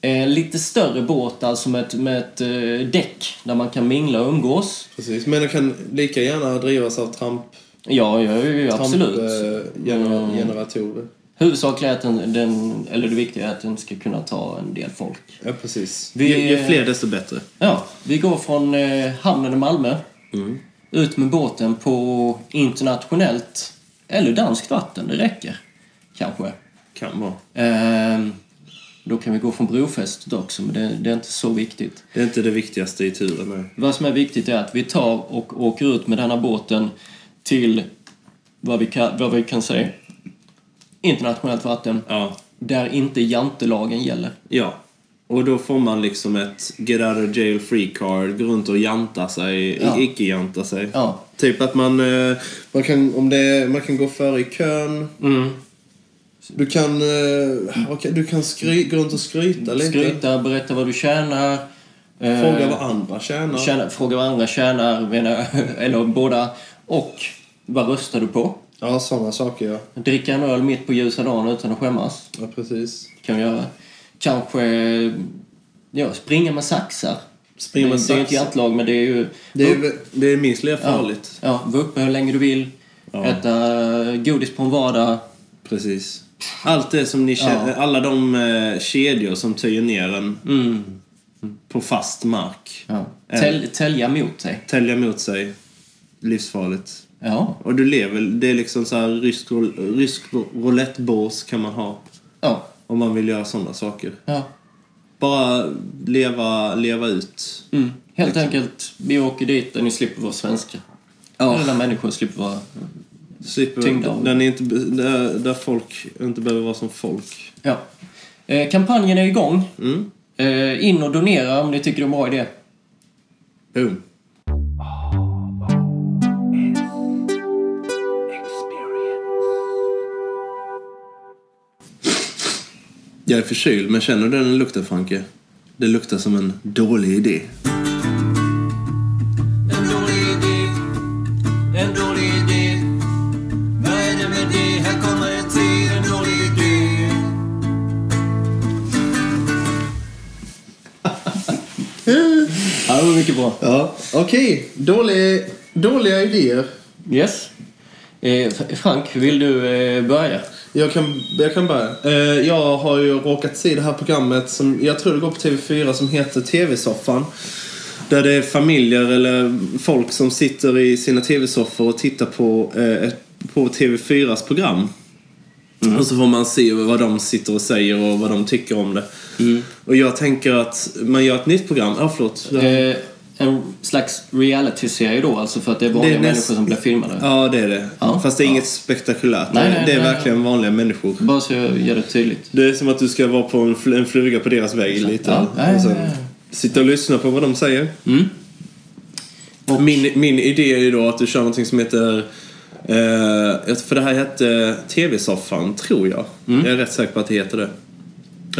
Speaker 3: En Eh, lite större båt, alltså med ett, med ett eh, däck där man kan mingla och umgås.
Speaker 5: Precis. Men den kan lika gärna drivas av tramp... eh,
Speaker 3: Ja, ja, ja absolut.
Speaker 5: Trampgeneratorer.
Speaker 3: Huvudsakligen att den, den, eller det viktiga är att den ska kunna ta en del folk.
Speaker 5: Ja, precis.
Speaker 3: Vi-
Speaker 5: ju, ju fler desto bättre.
Speaker 3: Ja, vi går från eh, hamnen i Malmö ut med båten på internationellt eller danskt vatten, det räcker kanske.
Speaker 5: Kan vara.
Speaker 3: Ehm, då kan vi gå från brofästet också, men det, det är inte så viktigt.
Speaker 5: Det är inte det viktigaste i turen, nej.
Speaker 3: Vad som är viktigt är att vi tar och åker ut med denna båten till
Speaker 6: vad vi kan, vad vi kan säga. Internationellt vatten,
Speaker 5: Ja.
Speaker 6: där inte jantelagen gäller.
Speaker 5: ja. Och då får man liksom ett get out of jail free card, gå runt och janta sig,
Speaker 6: Ja.
Speaker 5: icke-janta sig.
Speaker 6: Ja.
Speaker 5: Typ att man, eh, man, kan, om det, är- man kan gå före i kön. Du kan, eh, okej, du kan skry, gå runt och skryta lite.
Speaker 6: Skryta, berätta vad du tjänar. eh,
Speaker 5: Fråga vad andra tjänar.
Speaker 6: tjäna, fråga vad andra tjänar,
Speaker 3: [laughs]
Speaker 6: menar, jag, eller båda. Och vad röstar du på?
Speaker 5: Ja, sådana saker ja.
Speaker 6: Dricka en öl mitt på ljusa dagen utan att skämmas.
Speaker 5: Ja, precis.
Speaker 6: kan jag göra. Kanske ja, springa med saxar.
Speaker 5: Springa med
Speaker 6: det, Det är inte
Speaker 5: saxar.
Speaker 6: jantlag, men det är ju...
Speaker 5: Det är, det är minst lika farligt.
Speaker 6: Ja, vara uppe hur länge du vill. Äta eh, godis på en vardag.
Speaker 5: Precis. Allt det som ni känner, alla de eh, kedjor som töjer ner en Mm. på fast mark.
Speaker 6: Ja.
Speaker 5: Eh,
Speaker 6: Täl, tälja mot sig.
Speaker 5: Tälja mot sig. Livsfarligt.
Speaker 6: Ja.
Speaker 5: Och du lever, det är liksom så här rysk, roul- rysk roulettebås kan man ha.
Speaker 6: Ja.
Speaker 5: Om man vill göra sådana saker.
Speaker 6: ja.
Speaker 5: Bara leva, leva ut.
Speaker 6: Mm.
Speaker 5: Liksom.
Speaker 6: Helt enkelt, vi åker dit där ni slipper vara svenska. Ja. Alla människor slipper vara...
Speaker 5: Slipper,
Speaker 6: Tyngd av-
Speaker 5: där, ni inte, be- där, där folk inte behöver vara som folk.
Speaker 6: Ja. Eh, kampanjen är igång.
Speaker 5: Mm.
Speaker 6: Eh, in och donera om ni tycker det är en bra idé.
Speaker 5: Boom. Jag är förkyld, men känner du den lukten Franke? Det luktar som en dålig idé.
Speaker 7: En dålig idé, en dålig idé. Vad är det med det? Här kommer en till, en dålig idé.
Speaker 6: Ja, det var mycket bra.
Speaker 5: Ja, okej. Dålig, dåliga idéer.
Speaker 6: Yes. Eh, F- Frank, vill du eh, börja?
Speaker 5: Jag kan, jag kan börja. Eh, jag har ju råkat se det här programmet som jag tror det går på TV4 som heter TV-soffan. Där det är familjer eller folk som sitter i sina TV-soffor och tittar på, eh, ett- på TV4s program.
Speaker 6: Mm.
Speaker 5: Och så får man se vad de sitter och säger och vad de tycker om det. Och jag tänker att man gör ett nytt program. Ja, förlåt.
Speaker 6: Mm. Eh, en slags reality-serie då, alltså för att det är vanliga
Speaker 5: Det är näst-
Speaker 6: människor som blir filmade.
Speaker 5: Ja, det är det.
Speaker 6: Ja.
Speaker 5: Fast det är
Speaker 6: Ja.
Speaker 5: inget spektakulärt.
Speaker 6: Nej, nej,
Speaker 5: det är
Speaker 6: nej. Mm.
Speaker 5: verkligen vanliga människor.
Speaker 6: Bara så jag gör det tydligt.
Speaker 5: Det är som att du ska vara på en, fl- en fluga på deras väg lite.
Speaker 6: Ja, ja, ja,
Speaker 5: och sen
Speaker 6: ja. Mm.
Speaker 5: sitta och lyssna på vad de säger. Min, min idé är ju då att du kör någonting som heter... Eh, för det här hette TV-soffan, tror jag.
Speaker 6: Mm.
Speaker 5: Jag är rätt säker på att det heter det.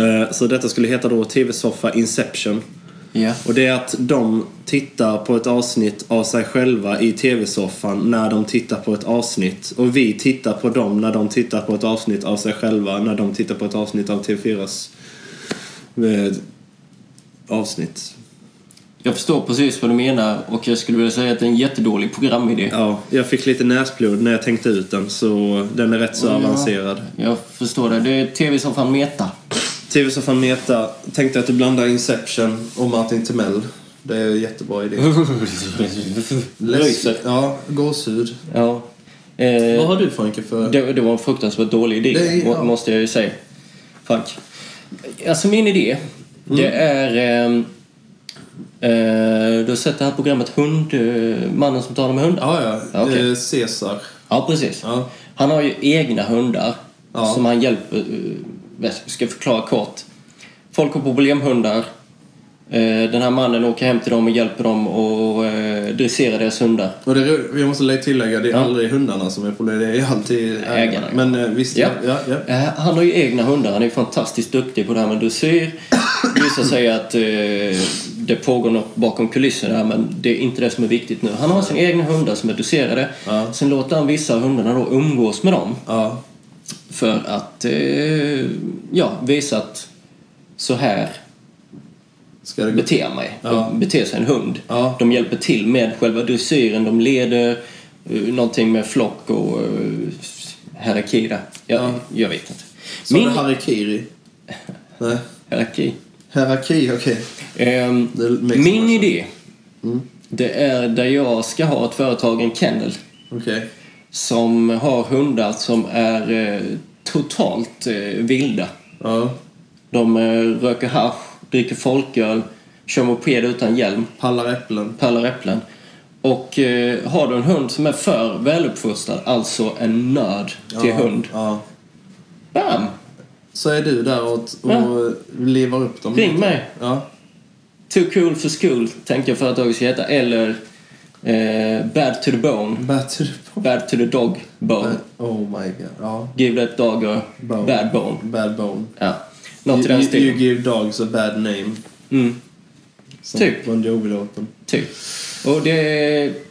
Speaker 5: Eh, så detta skulle heta då TV-soffa Inception.
Speaker 6: Ja.
Speaker 5: Och det är att de tittar på ett avsnitt av sig själva i TV-soffan när de tittar på ett avsnitt. Och vi tittar på dem när de tittar på ett avsnitt av sig själva när de tittar på ett avsnitt av TV4s eh, avsnitt.
Speaker 6: Jag förstår precis vad du menar och jag skulle vilja säga att det är en jättedålig programidé.
Speaker 5: Ja, jag fick lite näsblod när jag tänkte ut den så den är rätt så avancerad.
Speaker 6: Jag förstår det. Det är tv som fan meta.
Speaker 5: TV-soffan Meta, tänkte att du blandar Inception och Martin Timell. Det är en jättebra idé. Läs- ja, gåshud.
Speaker 6: ja.
Speaker 5: Vad
Speaker 6: Eh,
Speaker 5: har du Franke för...
Speaker 6: det, det var en fruktansvärt dålig idé,
Speaker 5: Det är- ja.
Speaker 6: må- måste jag ju säga. Frank. Alltså min idé, det är... ehm, eh, du har sett det här programmet Hund, eh, mannen som talar med hundar?
Speaker 5: Ja, ja.
Speaker 6: Okej.
Speaker 5: Eh, Caesar.
Speaker 6: Ja, precis.
Speaker 5: Ja.
Speaker 6: Han har ju egna hundar
Speaker 5: Ja.
Speaker 6: som han hjälper... eh, Jag ska förklara kort. Folk har problemhundar. Eh, Den här mannen åker hem till dem och hjälper dem att eh, dressera deras hundar.
Speaker 5: Och det, är ro- jag måste lägga tillägga, det är aldrig hundarna som är problemet, det är alltid ägarna.
Speaker 6: Ägarna, ja.
Speaker 5: Men eh, visst, ja. Ja, ja.
Speaker 6: Eh, Han har ju egna hundar. Han är ju fantastiskt duktig på det här med dressyr. Det visar sig att eh, det pågår något bakom kulisserna här, men det är inte det som är viktigt nu. Han har sina egna hundar som är dresserade.
Speaker 5: Ja.
Speaker 6: Sen låter han vissa av hundarna då umgås med dem.
Speaker 5: ja.
Speaker 6: för att eh, ja, visa att så här
Speaker 5: Ska det gå?
Speaker 6: beter jag mig.
Speaker 5: Ja.
Speaker 6: Beter sig en hund.
Speaker 5: Ja.
Speaker 6: De hjälper till med själva dressyren. De leder eh, någonting med flock och eh, hierarki där. Jag,
Speaker 5: Ja.
Speaker 6: jag vet inte.
Speaker 5: Sa du harikiri? Nej.
Speaker 6: hierarki.
Speaker 5: Hierarki, okej.
Speaker 6: Ehm,
Speaker 5: Det makes
Speaker 6: min
Speaker 5: more sense.
Speaker 6: idé,
Speaker 5: Mm.
Speaker 6: det är där jag ska ha ett företag, en kennel.
Speaker 5: Okej.
Speaker 6: som har hundar som är eh, totalt eh, vilda.
Speaker 5: Ja.
Speaker 6: De eh, röker hasch, dricker folköl, kör moped utan hjälm,
Speaker 5: Pallar äpplen.
Speaker 6: pallar äpplen.
Speaker 3: Och eh, har du en hund som är för väluppfostrad, alltså en nörd till hund.
Speaker 5: Ja.
Speaker 3: Bam!
Speaker 5: Så är du där och, och
Speaker 3: Ja.
Speaker 5: lever upp dem.
Speaker 3: Ring mig.
Speaker 5: Ja.
Speaker 3: Too cool for school, tänker jag företaget ska heta. Eller eh, Bad to the bone,
Speaker 5: Bättre på.
Speaker 3: Bad to the dog bone.
Speaker 5: Oh my god. Ja.
Speaker 3: Give that dog a
Speaker 5: Bone.
Speaker 3: bad bone.
Speaker 5: Bad bone.
Speaker 3: Ja. Något i
Speaker 5: You,
Speaker 3: den
Speaker 5: you, you
Speaker 3: stilen.
Speaker 5: give dogs a bad name.
Speaker 3: Mm,
Speaker 5: Som
Speaker 3: Typ.
Speaker 5: Bon Jovi-låten.
Speaker 3: typ. Och det...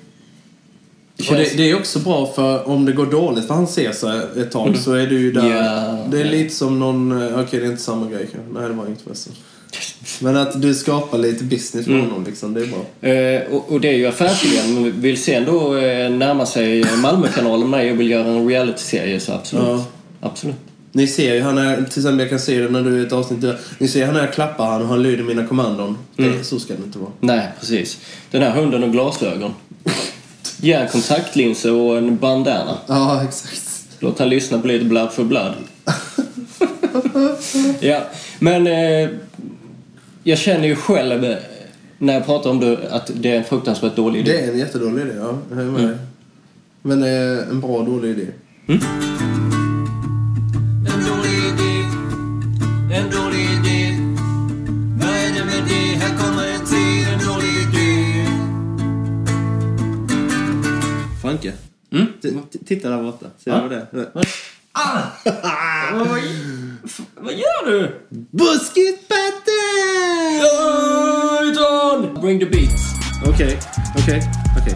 Speaker 5: Och det, det är också bra för om det går dåligt för han ser sig ett tag så är du ju där.
Speaker 3: Ja.
Speaker 5: det är lite som någon, eh, okej det är inte samma grej kanske. Nej det var inget förresten. Men att du skapar lite business för honom liksom, det är bra.
Speaker 3: Eh, och, och det är ju affärsidén. Men vill sen då eh, närma sig Malmökanalen med och vill göra en realityserie så absolut.
Speaker 5: Ja.
Speaker 3: Absolut.
Speaker 5: Ni ser ju, han är, till exempel jag kan se det när du är ett avsnitt där. Ni ser han är klappar han och han lyder mina kommandon. Det, så ska det inte vara.
Speaker 3: Nej, precis. Den här hunden och glasögon. Ge en kontaktlinse och en bandana.
Speaker 5: Ja, exakt.
Speaker 3: Låt han lyssna på lite Blood for Blood. [laughs] ja, men eh, jag känner ju själv eh, när jag pratar om det att det är en fruktansvärt dålig idé.
Speaker 5: Det är en jättedålig idé, ja. Jag är med dig. Men det är en bra dålig idé.
Speaker 4: En dålig idé, en dålig idé. Vad är det med det? Här kommer en till, en dålig idé.
Speaker 5: Franke. T- t- Titta där borta. Ser du det?
Speaker 3: Vad gör du?
Speaker 5: Buskis Petter!
Speaker 3: Öjton! Bring the beat.
Speaker 5: Okej, okej, okej.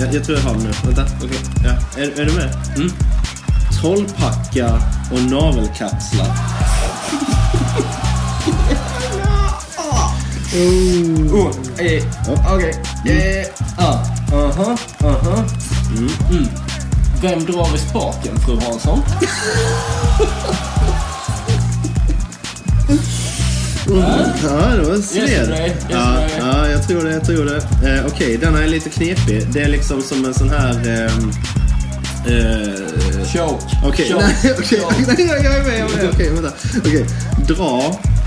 Speaker 5: Jag, jag tror jag har den nu. Vänta. Okay. Ja. Är, är du med? Mm. Trollpacka och navelkapslar.
Speaker 3: Oh, eh, okej. Eh, ah, aha, aha. Mm. Vem drar i spaken, fru Hansson?
Speaker 5: Ja, det var en sved.
Speaker 3: Yesterday,
Speaker 5: Ja,
Speaker 3: yesterday.
Speaker 5: ja, jag tror det. Jag tror det. Eh, Okej, denna är lite knepig. Det är liksom som en sån här... ehm, eh,
Speaker 3: Choke.
Speaker 5: Okej,
Speaker 3: Choke.
Speaker 5: nej, okej. [laughs] Nej, jag är med, jag är med. Okej, vänta. Okej, dra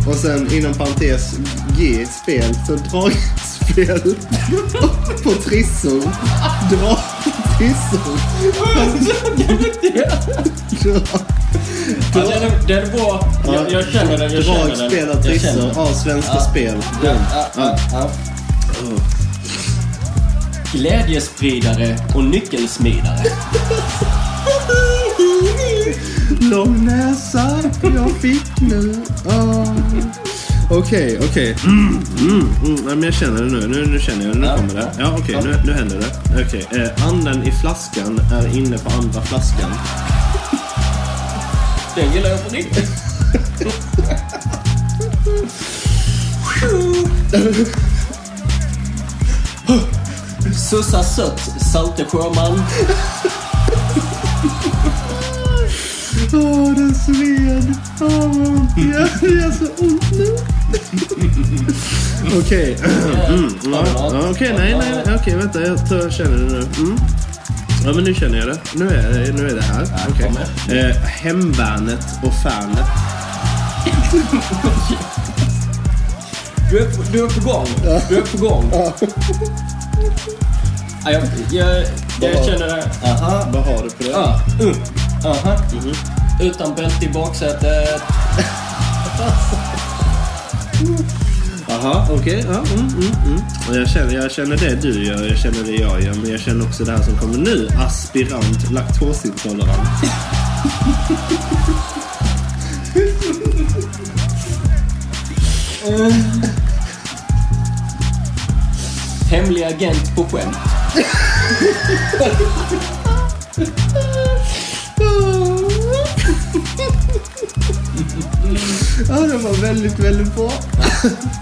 Speaker 5: och sen inom parentes G spel. Så [laughs] dragspel på trissor. Dra på trissor. Dra.
Speaker 3: Ja, den, är- den är bra. Jag, jag känner den. Jag känner den.
Speaker 5: Drag spelar
Speaker 3: Jag känner
Speaker 5: trissor
Speaker 3: den.
Speaker 5: av Svenska Spel.
Speaker 3: Ja, ja, ja. Glädjespridare och nyckelsmidare.
Speaker 5: Lång näsa jag fick nu. Ah. Okej, okej. Mm, mm, mm. Nej, men jag känner det nu. Nu, nu känner jag det. Nu kommer det. Ja, okej. nu, nu händer det. Okej. Eh, anden i flaskan är inne på andra flaskan.
Speaker 3: Den gillar jag på riktigt. Sussa sött, salte sjöman.
Speaker 5: Åh, den sved. Åh, vad ont det gör. Det gör så ont nu. Okej. Mm, ja, ja, Okej, nej, nej. nej. Okej, vänta. Jag tror jag känner det nu. Mm. Ja, men nu känner jag det. Nu är, nu är det här. Okej. Eh, hemvärnet och fanet.
Speaker 3: Du är, på- du är på gång. Du är på gång. Ja, jag, jag, jag känner det. Aha.
Speaker 5: Vad har du på det?
Speaker 3: Ja, uh, aha.
Speaker 6: Mm-hmm.
Speaker 3: Utan bälte i baksätet.
Speaker 5: Aha, okej. Ja, mm, mm, mm. Och jag, känner, jag känner det du gör, jag känner det jag gör, men jag känner också det här som kommer nu. Aspirant laktosintolerant.
Speaker 3: Hemlig agent på skämt.
Speaker 5: Ja, det var väldigt, väldigt bra.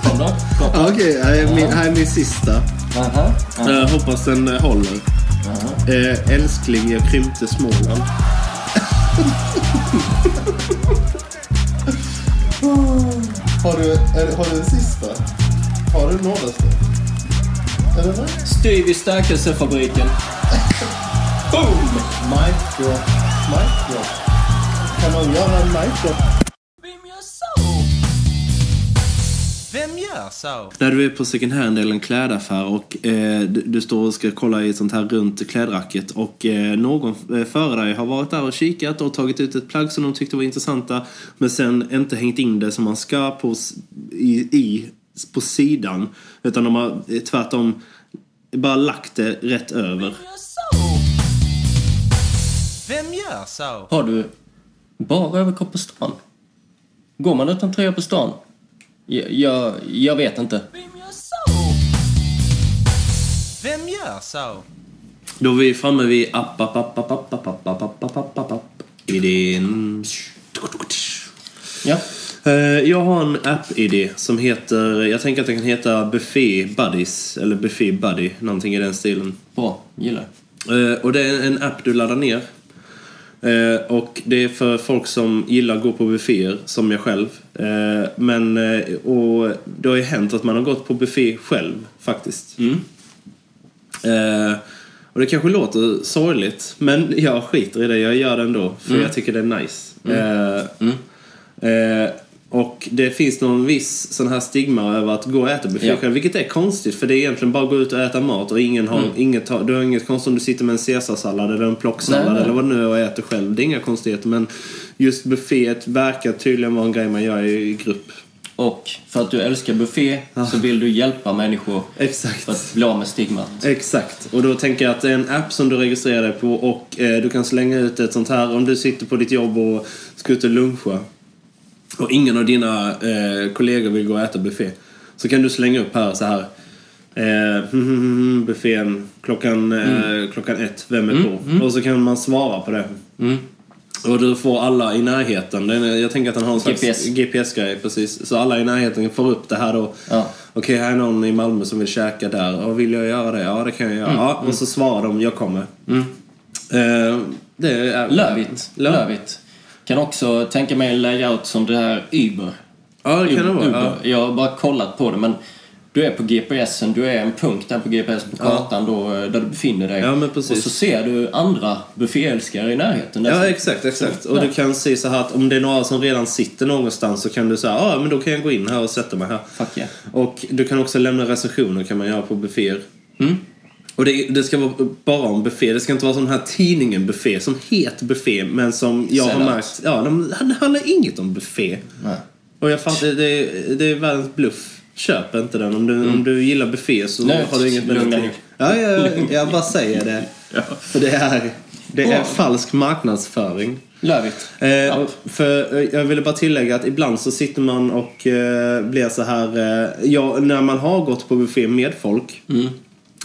Speaker 3: Kom då. Kom.
Speaker 5: Ja, [laughs] Okej, här är min- här är min sista.
Speaker 3: Aha.
Speaker 5: Jag hoppas den eh, håller. Eh, älskling, jag krympte [laughs] Småland. har, du, har du en sista? Har du några Eller
Speaker 3: Styv i stärkelsefabriken. Boom!
Speaker 5: Micro. Micro. Kan man göra en micro?
Speaker 4: Vem gör så? Vem gör
Speaker 8: där så.
Speaker 5: När du är på second hand eller en klädaffär och eh, du, du står och ska kolla i ett sånt här runt klädracket och eh, någon eh, före dig har varit där och kikat och tagit ut ett plagg som de tyckte var intressanta men sen inte hängt in det som man ska på, s- i, i, på sidan utan de har eh, tvärtom bara lagt det rätt över.
Speaker 8: Vem gör så?
Speaker 6: Har du bara överkropp på stan? Går man utan tröja på stan? Jag, jag, jag vet inte.
Speaker 8: Vem gör så?
Speaker 5: Då är vi framme vid app, app, app, app, app, app, app, app, app, app, app, app, app. Idén.
Speaker 6: Ja.
Speaker 5: Eh, Jag har en app-idé som heter, jag tänker att den kan heta Buffé Buddies, eller Buffé Buddy, någonting i den stilen.
Speaker 6: Bra, gillar det.
Speaker 5: Eh, Och det är en app du laddar ner. Eh, Och det är för folk som gillar att gå på bufféer, som jag själv. Eh, Men, eh, och det har ju hänt att man har gått på buffé själv, faktiskt. Eh, Och det kanske låter sorgligt, men jag skiter i det. Jag gör det ändå, för
Speaker 6: Mm.
Speaker 5: jag tycker det är nice. Eh, Eh, och det finns någon viss sån här stigma över att gå och äta buffé
Speaker 6: Ja.
Speaker 5: själv, vilket är konstigt för det är egentligen bara att gå ut och äta mat och ingen har,
Speaker 6: Mm.
Speaker 5: inget, har- du har inget konstigt om du sitter med en caesarsallad eller en plocksallad
Speaker 6: Nej, nej.
Speaker 5: eller vad det nu är och äter själv. Det är inga konstigheter men just bufféet verkar tydligen vara en grej man gör i grupp.
Speaker 6: Och för att du älskar buffé så vill du hjälpa människor
Speaker 5: Exakt.
Speaker 6: för att bli av med stigmat.
Speaker 5: Exakt, och då tänker jag att det är en app som du registrerar dig på och eh, du kan slänga ut ett sånt här om du sitter på ditt jobb och ska ut och luncha och ingen av dina eh, kollegor vill gå och äta buffé. Så kan du slänga upp här så här. Eh, buffén klockan, eh, klockan ett, vem är på? Och så kan man svara på det. Och du får alla i närheten. Den är- Jag tänker att den har en slags
Speaker 6: GPS.
Speaker 5: GPS-grej, precis. Så alla i närheten får upp det här då.
Speaker 6: Ja.
Speaker 5: Okej, här är någon i Malmö som vill käka där. Och vill jag göra det? Ja, det kan jag göra.
Speaker 6: Mm.
Speaker 5: Ja, och så svarar de, jag kommer. Eh, det är...
Speaker 6: Love it.
Speaker 5: Love.
Speaker 6: Love it. Kan också tänka mig en layout som det här Uber.
Speaker 5: Ja, det kan det vara. Ja.
Speaker 6: Uber. Jag har bara kollat på det men du är på GPSen, du är en punkt där på GPS på kartan då, eh, där du befinner dig.
Speaker 5: Ja, men precis.
Speaker 6: Och så ser du andra bufféälskare i närheten.
Speaker 5: Ja,
Speaker 6: Där.
Speaker 5: exakt, exakt. Och du kan se så här att om det är några som redan sitter någonstans så kan du säga, ja, men då kan jag gå in här och sätta mig här.
Speaker 6: Fuck yeah.
Speaker 5: Och du kan också lämna recensioner kan man göra på bufféer.
Speaker 6: Mm.
Speaker 5: Och det, det ska vara bara om buffé. Det ska inte vara som den här tidningen Buffé som het buffé men som jag har
Speaker 6: Sellout.
Speaker 5: märkt, ja, de, det handlar inget om buffé.
Speaker 6: Nej.
Speaker 5: Och jag fattar, det, är- det är världens bluff. Köp inte den. Om du, om du gillar buffé så
Speaker 6: Mm. Nej,
Speaker 5: har du inget med
Speaker 6: lugna
Speaker 5: det
Speaker 6: ner.
Speaker 5: Ja, ja, ja, jag bara säger
Speaker 6: [laughs]
Speaker 5: det. För det är, det är
Speaker 6: Bra.
Speaker 5: falsk marknadsföring.
Speaker 6: Love it.
Speaker 5: Eh,
Speaker 6: App.
Speaker 5: och för, eh, jag ville bara tillägga att ibland så sitter man och eh, blir så här... Eh, ja, när man har gått på buffé med folk
Speaker 6: Mm.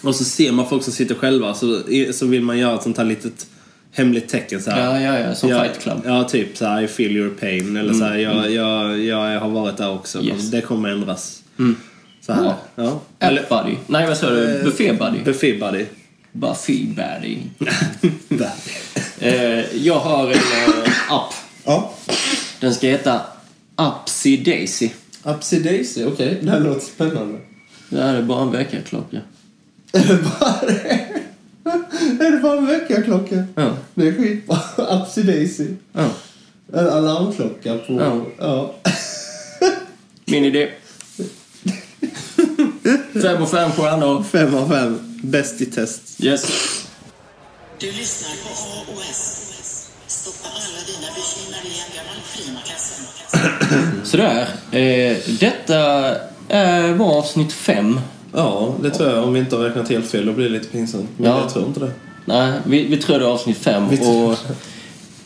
Speaker 5: och så ser man folk som sitter själva så, i- så vill man göra ett sånt här litet hemligt tecken så här.
Speaker 6: Ja, ja, ja. Som
Speaker 5: Ja,
Speaker 6: Fight Club. Mm.
Speaker 5: Ja, typ så här, I feel your pain. Eller så här, jag, jag, jag har varit där också.
Speaker 6: Yes. Mm.
Speaker 5: Det kommer ändras. Så här.
Speaker 6: Bra.
Speaker 5: Ja.
Speaker 6: App buddy. Nej, vad sa
Speaker 5: Eh.
Speaker 6: du? Buffé buddy.
Speaker 5: Buffé buddy.
Speaker 6: [laughs] Buffy buddy. Eh, jag har en eh, app.
Speaker 5: ja.
Speaker 6: Den ska heta Upsy Daisy.
Speaker 5: Upsy Daisy, okej. Det här låter spännande.
Speaker 6: Det här är bara en väckarklocka.
Speaker 5: Är det bara det? Är det bara en väckarklocka?
Speaker 6: Ja.
Speaker 5: Det är skitbra. [laughs] Upsy Daisy.
Speaker 6: Ja.
Speaker 5: En alarmklocka på...
Speaker 6: Ja.
Speaker 5: ja.
Speaker 6: Min idé. Fem och fem stjärnor.
Speaker 5: Fem av fem. Bäst i test.
Speaker 6: Yes.
Speaker 9: Du lyssnar på AOS. Stoppa alla dina befinnare i en gammal primakasse.
Speaker 6: Sådär. Eh, detta eh, var avsnitt fem.
Speaker 5: Ja, det tror jag. Om vi inte har räknat helt fel, då blir det lite pinsamt. Men
Speaker 6: Ja.
Speaker 5: jag tror
Speaker 6: [laughs]
Speaker 5: inte det.
Speaker 6: Nej, vi, vi tror det var avsnitt fem.
Speaker 5: Vi tror-
Speaker 6: Och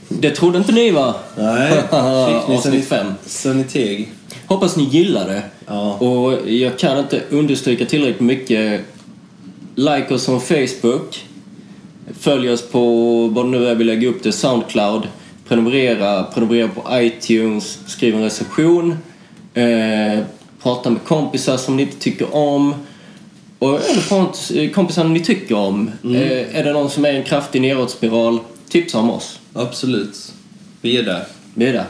Speaker 6: det trodde inte ni va?
Speaker 5: Nej. Fick ni sen ni-
Speaker 6: avsnitt fem.
Speaker 5: Sen ni teg.
Speaker 6: Hoppas ni gillar det.
Speaker 5: Ja.
Speaker 6: Och jag kan inte understryka tillräckligt mycket. Like oss på Facebook. Följ oss på vad det nu är vi lägger upp det, Soundcloud. Prenumerera, prenumerera på iTunes, skriv en recension. Eh, prata med kompisar som ni inte tycker om. Och, eller prata- eh, kompisar ni tycker om. Eh, är det någon som är i en kraftig nedåtspiral, tipsa om oss.
Speaker 5: Absolut. Vi är där.
Speaker 6: Vi är där.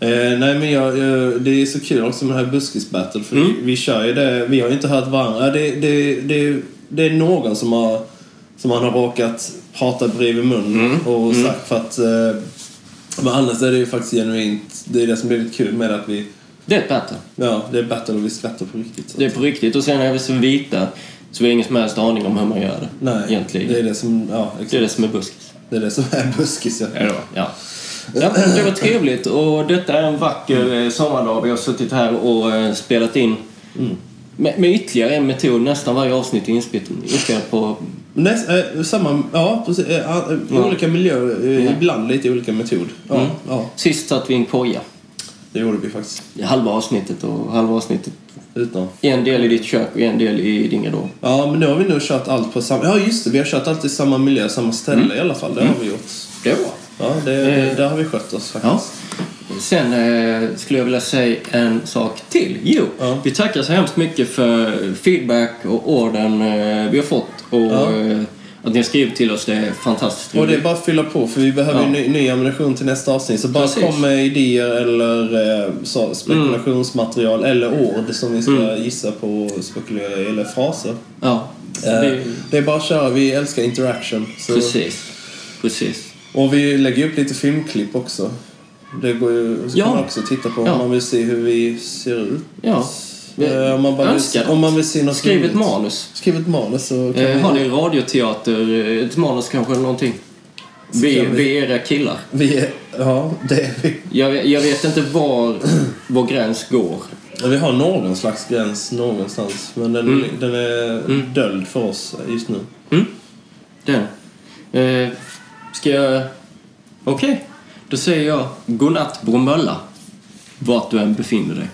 Speaker 5: Eh, nej men jag, eh, det är så kul också med det här Buskis Battle för vi, vi kör ju det, vi har ju inte hört varandra. Det, det, det, det är någon som har, som han har råkat prata bredvid mun och sagt för att eh, men annars är det ju faktiskt genuint, det är det som blir lite kul med att vi
Speaker 6: Det är ett battle.
Speaker 5: Ja, det är battle och vi skrattar på riktigt.
Speaker 6: Det är på riktigt. Och sen är vi så vita så vi har ingen som helst aning om hur man gör det.
Speaker 5: Nej,
Speaker 6: egentligen.
Speaker 5: det är det som... Ja,
Speaker 6: Det
Speaker 5: exakt.
Speaker 6: är det som är buskis.
Speaker 5: Det är det som är buskis. Ja.
Speaker 6: Ja. Ja, men det var trevligt och detta är en
Speaker 5: Mm.
Speaker 6: vacker eh, sommardag. Vi har suttit här och eh, spelat in
Speaker 5: Mm.
Speaker 6: med, med ytterligare en metod. Nästan varje avsnitt är inspelat, inspelat på...
Speaker 5: Näst, eh, samma, ja, precis, eh, ja, Mm. eh, Olika miljöer, eh, ibland lite olika metod. Ja, ja,
Speaker 6: Sist satt vi i en koja.
Speaker 5: det gjorde vi faktiskt.
Speaker 6: I Halva avsnittet och halva avsnittet.
Speaker 5: Utan.
Speaker 6: En del i ditt kök och en del i din garderob.
Speaker 5: Ja, men nu har vi nog kört allt på samma... Ja, just det. Vi har kört allt i samma miljö, samma ställe
Speaker 6: Mm.
Speaker 5: i alla fall. Det har vi gjort.
Speaker 6: Det var
Speaker 5: Ja,
Speaker 6: Eh.
Speaker 5: det, där har vi skött oss
Speaker 6: Ja.
Speaker 5: faktiskt.
Speaker 6: Sen eh, skulle jag vilja säga en sak till. Jo,
Speaker 5: Ja.
Speaker 6: vi tackar så hemskt mycket för feedback och orden eh, vi har fått och
Speaker 5: Ja.
Speaker 6: eh, att ni har skrivit till oss. Det är fantastiskt
Speaker 5: Och det är
Speaker 6: roligt.
Speaker 5: bara att fylla på för vi behöver
Speaker 6: Ja.
Speaker 5: ju ny, ny ammunition till nästa avsnitt. Så bara
Speaker 6: Precis.
Speaker 5: kom med idéer eller eh, så, spekulationsmaterial
Speaker 6: Mm.
Speaker 5: eller ord som vi ska gissa på och spekulera i, eller fraser.
Speaker 6: Ja,
Speaker 5: Eh,
Speaker 6: det,
Speaker 5: Det är bara att köra, vi älskar interaction. Så.
Speaker 6: precis. Precis.
Speaker 5: Och vi lägger upp lite filmklipp också. Det går ju, så
Speaker 6: Ja.
Speaker 5: kan man också titta på
Speaker 6: Ja.
Speaker 5: om man vill se hur vi ser ut.
Speaker 6: Ja.
Speaker 5: Eh, om, man bara vill,
Speaker 6: Önskar
Speaker 5: se- om man vill se något
Speaker 6: Skriv ett
Speaker 5: roligt.
Speaker 6: manus.
Speaker 5: Skriv ett manus så kan
Speaker 6: Eh,
Speaker 5: vi,
Speaker 6: har ni radioteater, eh, ett manus kanske eller någonting? Vi,
Speaker 5: kan vi-
Speaker 6: vi är era killar.
Speaker 5: vi är, Ja, det är vi.
Speaker 6: Jag, jag vet inte var vår gräns går.
Speaker 5: Ja, Vi har någon slags gräns någonstans. Men den,
Speaker 6: Mm.
Speaker 5: den är döld för oss just nu.
Speaker 6: Den. Eh, ska jag... Okej. Då säger jag godnatt Bromölla. Vart du än befinner dig.